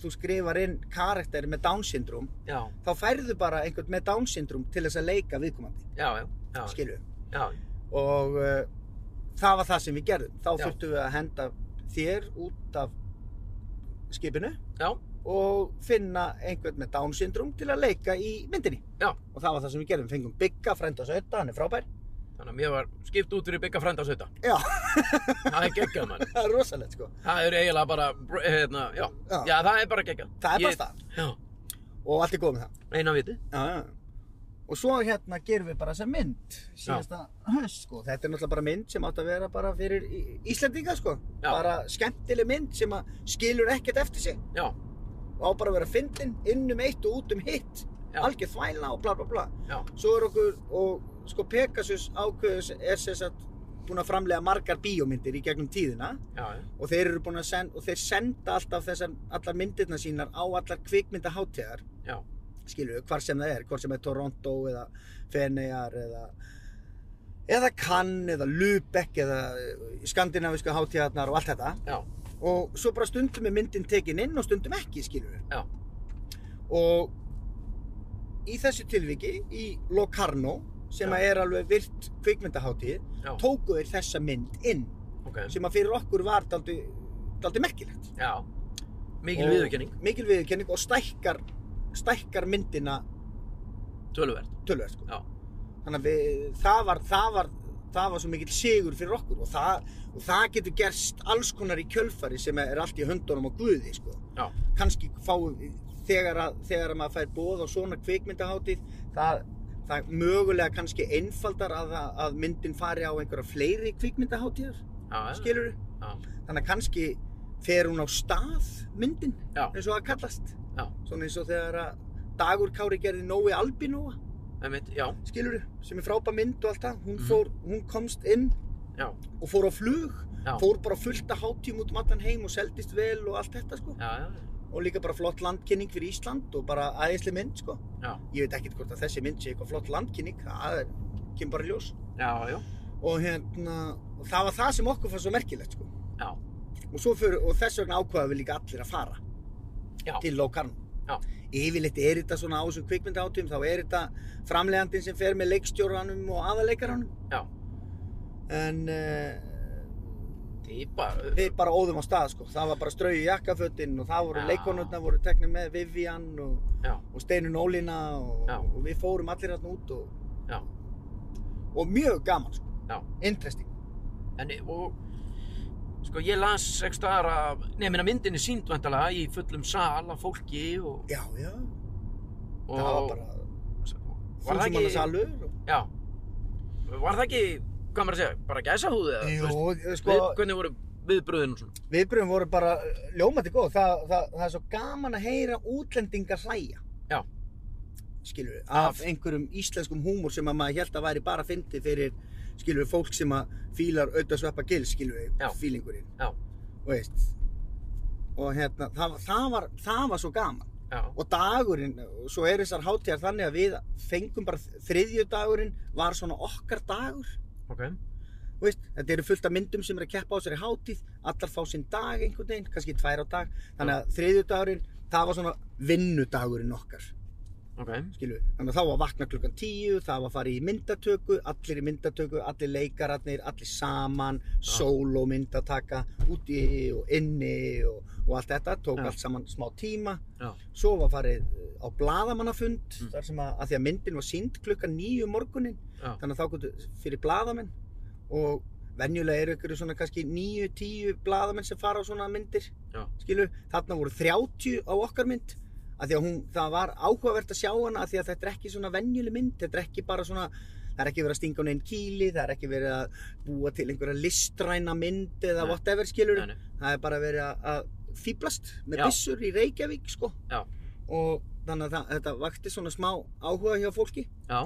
þú skrifar inn karakter með Down syndrom Já, þá færðu bara einhvern með Down syndrom til þess að leika viðkomandi, já, já. Já, skilu já, og uh, það var það sem við gerðum þá Já. þurftum við að henda þér út af skipinu já. og finna einhvern með Down syndrom til að leika í myndinni. Já. Og það var það sem við gerðum, fengum Bigga, frænda Sötta, hann er frábær. Þannig að mér var skipt út fyrir byggja frænda sötta. Já. Það er geggjað mann. Það er rosalegt sko. Það er eiginlega bara, br- hérna, já. Já. Já, það er bara geggjað. Það er Ég- bara það. Já, Og allt er góð með það. eina viti. Já, já. Og svo hérna gerum við bara þessa mynd síðasta höst sko. Þetta er náttúrulega bara mynd sem átt að vera bara fyrir Í- Íslendinga sko. Já. Bara skemmtileg mynd sem að skilur ekkert eftir sig. Já, Og á bara að vera fyndin inn um eitt og út um hitt. Já. Algjör þvæla og bla bla bla. já, Svo er okkur, og sko Pegasus ákveðus er sem sagt búin að framlega margar bíómyndir í gegnum tíðina já, já. og þeir eru búin að senda, og þeir senda alltaf þessar, allar myndirna sínar á allar kvikmyndahátegar, Já, skilu, hvar sem það er, hvort sem er Toronto eða Feneyjar eða eða Cannes eða Lübeck eða eh, skandinavísku hátíðarnar og allt þetta já, og svo bara stundum er myndin tekin inn og stundum ekki, skilur við. Já. Og í þessu tilviki, í Locarno, sem Já. að er alveg virt kvikmyndaháttíð, já. tóku þeir þessa mynd inn, Ok, sem að fyrir okkur var daldi, daldi merkilegt. já. Mikil Og- viðurkenning, Mikil viðurkenning og stækkar, stækkar myndina tölverð. tölvöld, sko. Já. Þannig að við, það var, það var, það var svo mikill sigur fyrir okkur og það, og það getur gerst alls konar í kjölfari sem er allt í höndunum á Guði, sko. Já, kannski fáum við- þegar að, þegar að maður fær bóð á svona kvikmyndahátíð það, það mögulega kannski einfaldar að, það- að myndin fari á einhverja fleiri kvikmyndahátíðar já, já. skilur Já, þannig að kannski fer hún á stað myndin já, eins og það kallast Já. svona eins og þegar að Dagur Kári gerði Nói Albinóa einmitt, já, skilur sem er frábær mynd og allt það hún, Mhm. fór, hún komst inn já, og fór á flug, já, fór bara fullt að hátíum út um allan heim og seldist vel og allt þetta sko. já, já, Og líka bara flott landkynning fyrir Ísland og bara æðisleg mynd sko. Já. Ég veit ekkert hvort að þessi mynd sé eitthvað flott landkynning, það er, kemur bara í ljós. já, já, Og hérna, og það var það sem okkur fannst svo merkilegt sko. Já. Og, svo fyrir, og þess vegna ákvaða við líka allir að fara Já. til Locarno. Já. Yfirleitt er þetta svona á þessum kvikmyndahátíum, þá er þetta framlegandinn sem fer með leikstjóranum og aðaleikaranum. já. En uh, Týpa, við bara óðum á stað sko, það var bara strau í jakkafötinn og það voru Já. leikonurna voru teknir með Vivian og, já, og Steinun Ólína og, Já. og við fórum allir hérna út og, já. og mjög gaman sko, Já. interesting. En, og, sko, ég las ekki staðar að, nefnir að myndin er sínd vantalega í fullum sal af fólki og... Já, já, og það var bara Var það þúsum manna ekki- salur. Já. Var það ekki, hvað maður að segja, bara gæsa húði eða? Jú, þú eh, veist, sko, við, hvernig voru viðbröðin og svona? viðbröðum voru bara eh, ljómandi góð, það, það, það er svo gaman að heyra útlendingar hlæja. Já. Skilur við, Af- af einhverjum íslenskum húmor sem að maður held að væri bara fyndi fyrir, skilur við, fólk sem að fílar auðvitað gil, skilur við, Já. fílingurinn. Já, Þú veist og hérna, það, það, var, það var svo gaman já, og dagurinn, og svo er þessar hátíðar þannig að við fengum bara þriðju dagurinn var svona okkar dagur ok, Þú veist, þetta eru fullt af myndum sem eru að keppa á þessari hátíð allar fá sinn dag einhvern veginn, kannski tvær á dag þannig að þriðju dagurinn, það var svona vinnudagurinn okkar ok, skilu. þannig að þá var vakna klukkan tíu það var að fara í myndatöku, allir í myndatöku allir leikararnir, allir saman sóló myndataka úti og inni og, og allt þetta, tók Já. allt saman smá tíma já, svo var farið eh, á bladamannafund Mm. þar sem að, að því að myndin var sínd klukkan níu morgunin, já, þannig að þá gotu fyrir bladamenn og venjulega eru ykkur svona kannski níu, tíu bladamenn sem fara á svona myndir Já. skilu, þarna voru 30 á okkar mynd að því að hún, það var áhugavert að sjá hana að því að þetta er ekki svona venjuleg mynd, þetta er ekki bara svona það er ekki verið að stinga hún einn kýli, það er ekki verið að búa til einhverja listræna mynd eða Nei. whatever skilur Nei, nei. það er bara verið að- að fýblast með Já. byssur í Reykjavík sko Já. og þannig að það, þetta vakti svona smá áhuga hjá fólki já,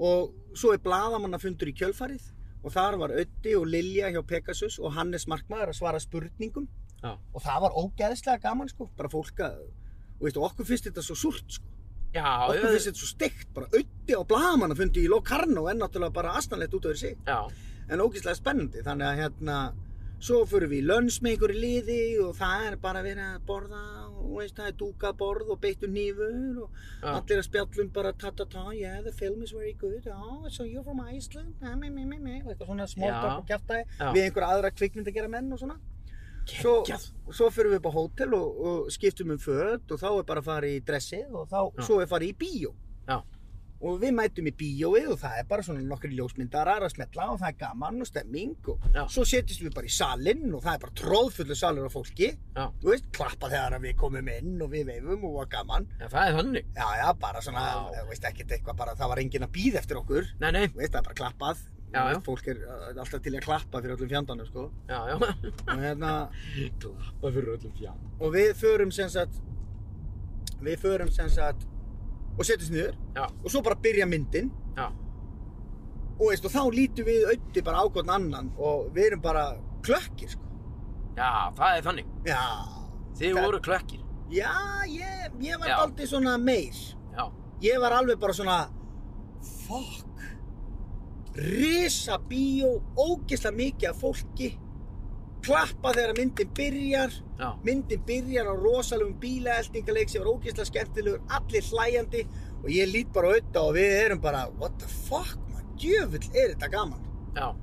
og svo er bladamannafundur í kjölfarið og þar var Öddi og Lilja hjá Pegasus og Hannes Markmaður að svara spurningum Já. og það var ógeðslega gaman sko, bara fólk að og veistu, okkur finnst þetta svo súrt sko. já, okkur já, finnst þetta svo steikt, bara Öddi á bladamannafundi í Locarno en náttúrulega bara astanlegt út af þessi já, en ógeðslega spennandi þannig að hérna svo förum við í lönns með einhverju liði og það er bara verið að borða og veist, það er dúkaborð og beittur nýfur og já, allir að spjallum bara ta ta ta, yeah the film is very good oh, so you're from Iceland me, me, me, me, me. og eitthvað svona Já. smóltak og kjæftæði Já. við einhverja aðra kvikmynd að gera menn og svona svo, Geggjað. svo förum við upp á hótel og, og skiptum um föt og þá er bara að fara í dressið og þá, Já. svo er farið í bíó Já. og við mætum í bíóið og það er bara svona nokkri ljósmyndarar að smetla og það er gaman og stemming og Já. svo setjumst við bara í salinn og það er bara tróðfullur salur af fólki Já. þú veist, klappa þegar að við komum inn og við veifum og var gaman já, það er þannig. Já, já, bara svona, Já. þú veist ekkert eitthvað, bara það var enginn að býða eftir okkur, Nei, nei, þú veist, það er bara klappað, Já, já. fólk er uh, alltaf til í að klappa fyrir öllum fjandanum, sko, já, já, og hérna, klappa fyrir öllum fjall. og við förum sem sagt, við förum sem sagt, og setjumst niður, Já. og svo bara byrja myndin, Já, og veist, og þá lítum við auði bara ákvotn annan, og við erum bara klökkir, sko, já, það er þannig. já, Þið Það- voru klökkir. já, ég, ég var Já. aldrei svona meir, Já, ég var alveg bara svona fuck risa bíó ógeðslega mikið af fólki klappa þegar myndin byrjar já, myndin byrjar á rosalum bílaeldingaleik sem var ógeðslega skemmtilegur allir hlæjandi og ég lít bara auðvitað og við erum bara what the fuck man, djöfull er þetta gaman já,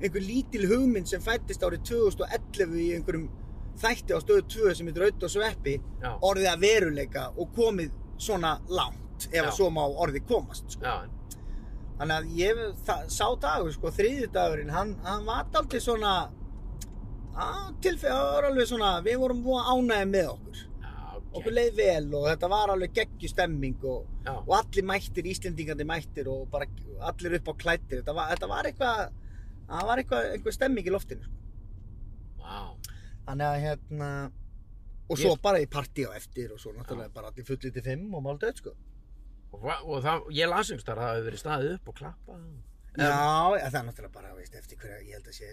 einhver lítil hugmynd sem fættist árið 2011 í einhverjum þætti á stöðu 2 sem heitir auðvitað sveppi já, orðið að veruleika og komið svona langt ef Já. að svo má orðið komast sko. já, þannig að ég, það, sá dagur sko, þriðju dagurinn, hann, hann var aldrei svona tilfæð, það var alveg svona við vorum búin ánægði með okkur já, okkur ok, leið vel og þetta var alveg geggju stemming og, já, og allir mættir, Íslendingandi mættir og bara allir upp á klættir þetta var, þetta var eitthvað, það var eitthvað einhver stemming í loftinu sko. vá, þannig að hérna og svo Ég- bara í partí á eftir og svo náttúrulega bara allir fullið til fimm og máldöð sko og, hva- og það, ég las einhvers þar, það hefur verið staðið upp og klappað. Já, ja, það er náttúrulega bara, veist, eftir hverja, ég held að sé,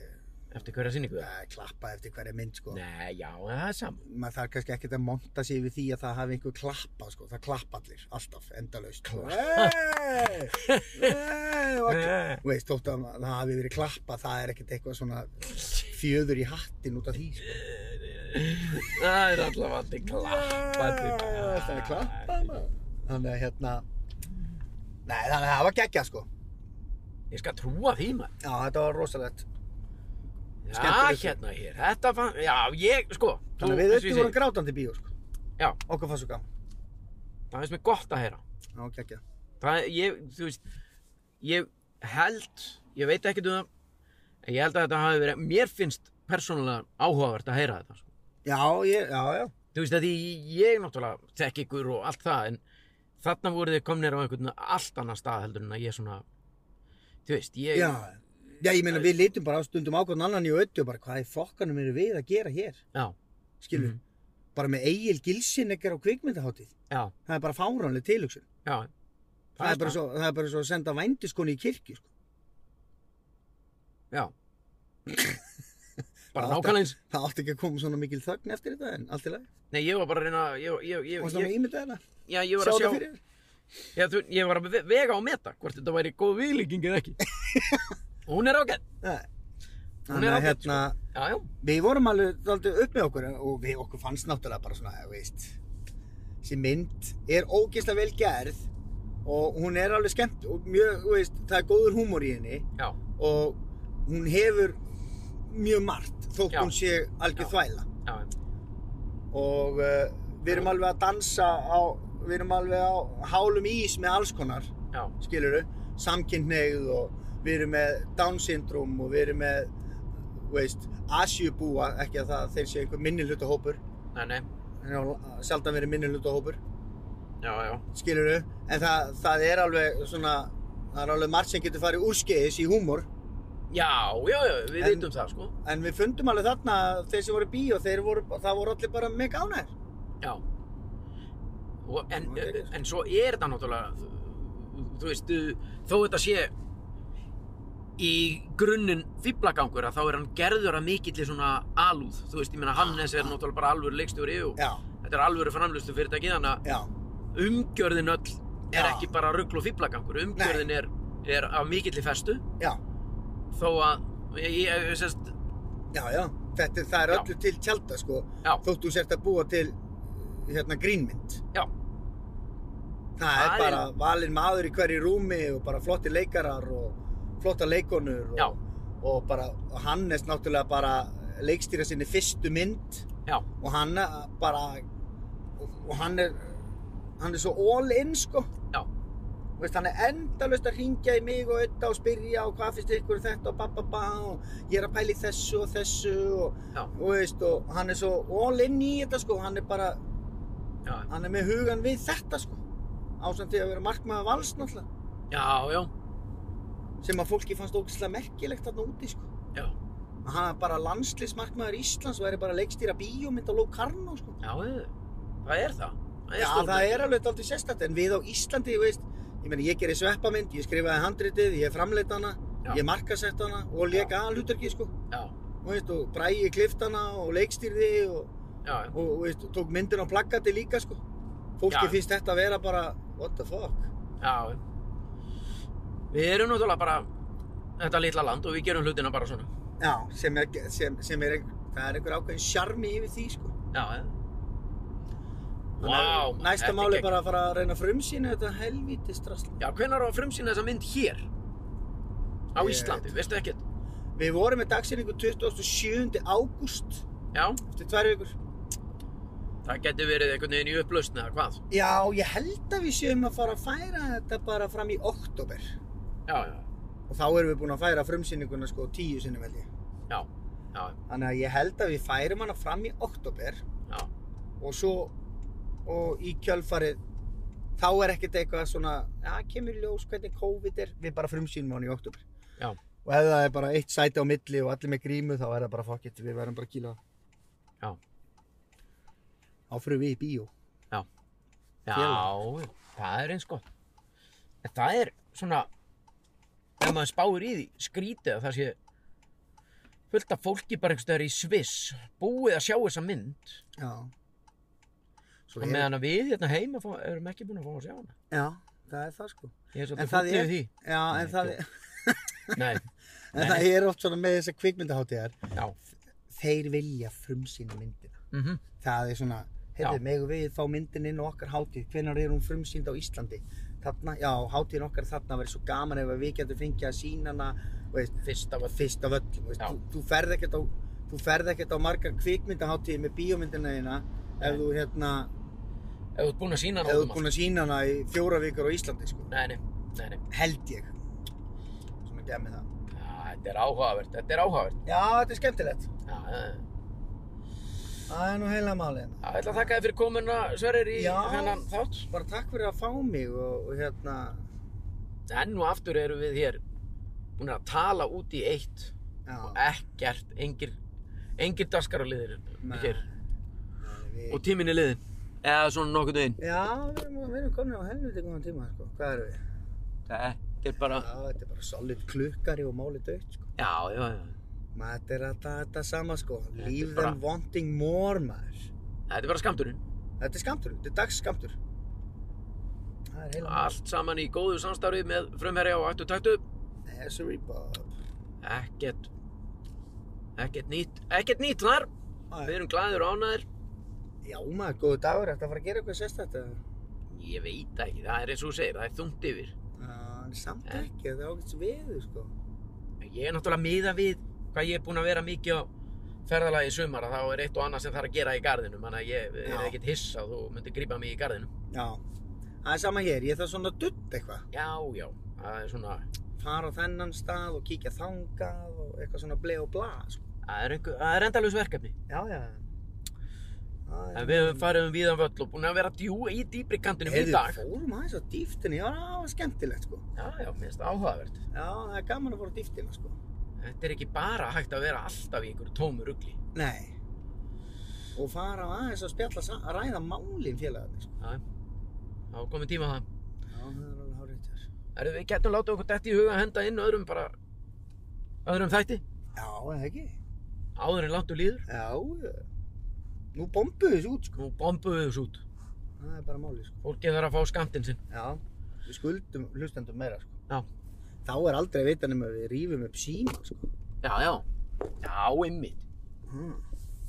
Eftir hverja sýningu það? ja, klappa eftir hverja mynd, sko. Nei, já, það er saman. Maður þarf kannski ekkert að monta sig yfir því að það hafi einhver klappa, sko. Það klappa allir, alltaf, endalaust. Klappa? Nei, Nei. veist, þótt að ma- það hafi verið klappa, það er ekkert eitthvað svona fjöður í hattin út af því, sko. Það er allavega allir klappandi. Nei, Það er klappa, maður. Þannig að hérna, nei, þannig að það var geggja, sko. Ég skal trúa því maður. Já, þetta var rosalegt. Já, Skemmtilegt. hérna hér. Þetta fann, já, ég, sko. þú- Þannig að við eins og ég öllum segi, vorum grátandi í bíó, sko. Já, Okkur fannst svo gaman. það finnst mér gott að heyra. Já, geggja. Það er, ég, þú veist, ég held, ég veit ekkert um það, en ég held að þetta hafi verið, mér finnst persónulega áhugavert að heyra þetta, sko. Já, ég, já, já. Þú veist, að því ég náttúrulega þekk ykkur og allt það, en þarna voru þið komnir á einhvern allt annan stað heldur en að ég svona, þú veist, ég, Já, já ég meina við litum bara á stundum ákvæðan annan í öttu og bara hvað í fokkanum eru við að gera hér, já, skilur Mhm. Bara með Egil Gilsin ekkert á kvikmyndaháttið. já, Það er bara fáránleg tilhugsun. já. Það, er bara svo, það er bara svo að senda vændiskonu í kirkju, sko. Já. bara Það átti- nákvæmlega eins. Það átti ekki að koma svona mikil þögn eftir þetta en allt í lagi. Nei, ég var bara að reyna, ég, ég, ég, Og ég, svona ég, með ímyndað hana. já, ég var Sjá að þetta sjá, fyrir. þér. já, þú, ég var að ve- vega og meta hvort þetta væri góð viðlíking eða ekki. Og Hún er ágætt. Nei. Hún er Þannig að ágæt, sko. hérna, Já, já. við vorum alveg daldið upp með okkur og við okkur fannst náttúrulega bara svona, þú veist, þessi mynd er ógeðslega vel gerð og hún er alveg skemmt og mjög, þú veist, það er góður húmor í henni Já, og hún hefur mjög margt þótt Já. hún sé algjör Já. þvæla já, og uh, við erum alveg að dansa á, við erum alveg á hálum ís með alls konar, já, skilurðu samkynneigð og við erum með Down syndrom og við erum með þú veist, asjubúa ekki að það þeir séu einhver minnihlutahópur nei, nei, þannig að sjaldan verið minnihlutahópur já, já, skilurðu, en það, það er alveg svona, það er alveg margt sem getur farið úrskeiðis í húmor já, já, já, við En- veitum það, sko. En við fundum alveg þarna að þeir sem voru í bíó, þeir voru, það voru allir bara mega ánægir. Já. Og, en, Það er ekki, en svo er þetta náttúrulega, þú- þú veist, þú- þó þetta sé í grunninn fýblagangur að þá er hann gerður að mikill svona alúð. Þú veist, ég meina Hannes er náttúrulega bara alvöru leikstjóri og Já, þetta er alvöru framlustu fyrirtæki þannig að já, umgjörðin öll er Já. ekki bara ruggl og fýblagangur. Umgjörðin er, er af mikilli festu já, þó að, ég, ég, sérst, já, já. Þetta, er- það er Já. öllu til tjálta, sko. Já. Þótt þú sért að búa til, hérna, grínmynd. Já. Það er Það er- bara valinn maður í hverju rúmi og bara flotti leikarar og flotta leikonur og, já, og bara og Hannes náttúrulega bara leikstýra sinni fyrstu mynd já, og hann eh, bara, og, og hann er, hann er svo all in, sko. já, Þú veist, hann er endalaust að ringja í mig og auðvitað og spyrja og hvað finnst ykkur um þetta og bababa og ég er að pæli þessu og þessu og, Já. og, veist, og hann er svo all in í þetta sko, hann er bara, já, hann er með hugan við þetta sko ásand til að vera markmaður vals náttúrulega já, já, sem að fólki fannst ógeðslega merkilegt þarna úti sko já, að hann er bara landslismarkmaður Íslands og er bara að leikstýra bíómynd á Locarno sko já, eh, það er það. Það Já, stór- það er alveg aldrei sérstætt, en við á Íslandi, ég veist, ég meina, ég gerði sveppamynd, ég skrifaði handritið, ég framleitt hana, Já. ég markasett hana og leika aðalhuturki, sko, Já, og veist, og bræði klift hana og leikstýrði og, já, og veist, tók myndin á plaggati líka, sko. Fólki Já. finnst þetta að vera bara, what the fuck? já. Við erum náttúrulega bara þetta litla land og við gerum hlutina bara svona. Já, sem er, sem, sem er, það er einhver ákveðin sjarmi yfir því, sko. Já, já. Þannig Vá, að Næsta þetta mál er gegn- bara að fara að reyna að frumsýna þetta helvítið strassl. Já, hvenær á að frumsýna þessa mynd hér? Á Ég Íslandi, veistu ekkert? Við vorum með dagsýningu 27. ágúst, Já, eftir tvær vikur. það getur verið einhvern veginn í upplausn eða hvað. Já, ég held að við séum að fara að færa þetta bara fram í oktober Já, já, og þá erum við búin að færa frumsýninguna sko tíu sinnum held ég. já, já, Þannig að ég held að við færum hana fram í oktober já, og svo og í kjölfarið þá er ekkert eitthvað svona já, kemur í ljós hvernig COVID er við bara frumsýnum hana í oktober. Já. Og ef það er bara eitt sæti á milli og allir með grímu þá er það bara fuck it, við verðum bara að kýla það. já, Þá fyrir við í bíó. sko. já, það er eins gott. En það er svona, ef maður spáir í því, skrítið að það sé fullt af fólki bara einhverstaðar í Sviss, búið að sjá þessa mynd Já. og meðan að við hérna heima fá, erum ekki búin að fá að sjá hana. Já, það er það sko. Ég er En það svolítið fúll er- yfir því. Já, Nei, en, það, djók. Nei, en það er oft svona með þessar kvikmyndaháttíðar. já. Þeir vilja frumsýna myndina. Mm Það er svona, Já. heyrðu, megum við fá myndin inn á okkar hátíð. Hvenær er hún frumsýnd á Íslandi? Þarna, já, hátíðin okkar þarna verður svo gaman ef að við getum fengið að sína hana, veist, Fyrst af að fyrst af öllum. Veist, Já. þú, þú ferð ekkert á, þú ferð ekkert á margar kvikmyndaháttíði með bíómyndina þína ef Nei. þú hérna, ef þú ert búin að sína ef hana þú út um ert búin að sína hana í fjóra vikur á Íslandi, sko. Nei, nei, nei, nei. Held ég. Svona gemmi það. Ah, þetta er áhugavert, þetta er áhugavert. Já, þetta er skemmtilegt. Já, já, já. Það er nú heila málið. hérna. Já, Ég ætla að þakka þér fyrir komuna, Sverrir, í Já. þennan þátt. Bara takk fyrir að fá mig og, og hérna, Enn og aftur erum við hér búin að tala út í eitt já, og ekkert, engir, engir daskaraliðir Nei. hér. við, e- Og tíminn er liðin. Eða svona nokkuð veginn. já, við erum, við erum komin á helviti góðan tíma, sko. Hvað erum við? Þetta er bara, Já, þetta er bara solid klukkari og máli dött, sko. já, já, já. Maður, þetta er alltaf þetta sama, sko. er Leave bara- them wanting more, maður. Þetta er bara skamturinn. Þetta er skamtur, þetta er dagskamtur. Það er heila Allt saman í góðu samstarfi með frumherja og ættu tættu. málið. Hessery Bob. Ekkert, ekkert nýtt, ekkert nýtt þar. Nei. Ah, Við erum glæðir og ánæðir. Já, maður, góðu dagur, þetta að fara að gera eitthvað sérstætt. eða? Ég veit ekki, það er eins og þú segir, það er þungt yfir. Já, en Ah, samt Eh? ekki, þetta er ágætt veður, sko. Ég er náttúrulega miða við hvað ég er búinn að vera mikið á ferðalagi í sumar að þá er eitt og annað sem þarf að gera í garðinum þannig að ég er Já. ekkert hiss að þú myndir grípa mig í garðinum Já, það er sama hér, ég þarf svona að dutt eitthvað. Já, já, það er svona Fara á þennan stað og kíkja þangað og eitthvað svona blei og bla, sko. það er, einhver, það er endalaus verkefni Já, já. Það en við höfum farið um víðan völl og búin að vera djú í dýpri kantinum í Heyrðu, dag fórum aðeins á dýftinni, já, það var skemmtilegt, sko. Já, já, mér finnst það áhugavert Já, það er gaman að fara á dýftina, sko. Þetta er ekki bara hægt að vera alltaf í einhverju tómu rugli Nei. Og fara aðeins að spjalla, sa- að ræða málin félagarnir, sko. Já, þá er komið tíma á það Já, það er alveg hárið þér. Herðu, Við getum látið okkur dætt í huga að henda inn öðrum bara öðrum þætti Já, eða ekki? áður en láttu líður Já, já. Nú bombuðu þessu út, sko. Nú bombuðu við þessu út Það er bara málið, sko. Fólkið þarf að fá skamtinn sinn. Já, við skuldum hlustendum meira sko. Já. Þá er aldrei að vita nema við rýfum upp síma sko. Já, já. Já, einmitt. Mm.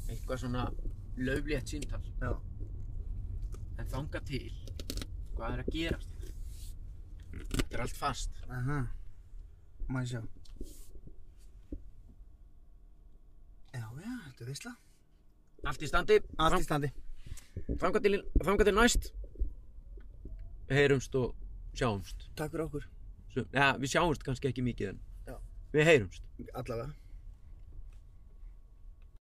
Eitthvað svona löflétt síntal. Já. En þanga til. Hvað er að gerast? Þetta er allt fast. Aha. Má ég sjá. Já, já, þetta er veistla. Allt í standi. Allt í standi. Þanga til, þanga til næst. Heyrumst og sjáumst. Takk fyrir okkur. Svo, ja, við sjáumst kannski ekki mikið en. Já. Við heyrumst. Allavega.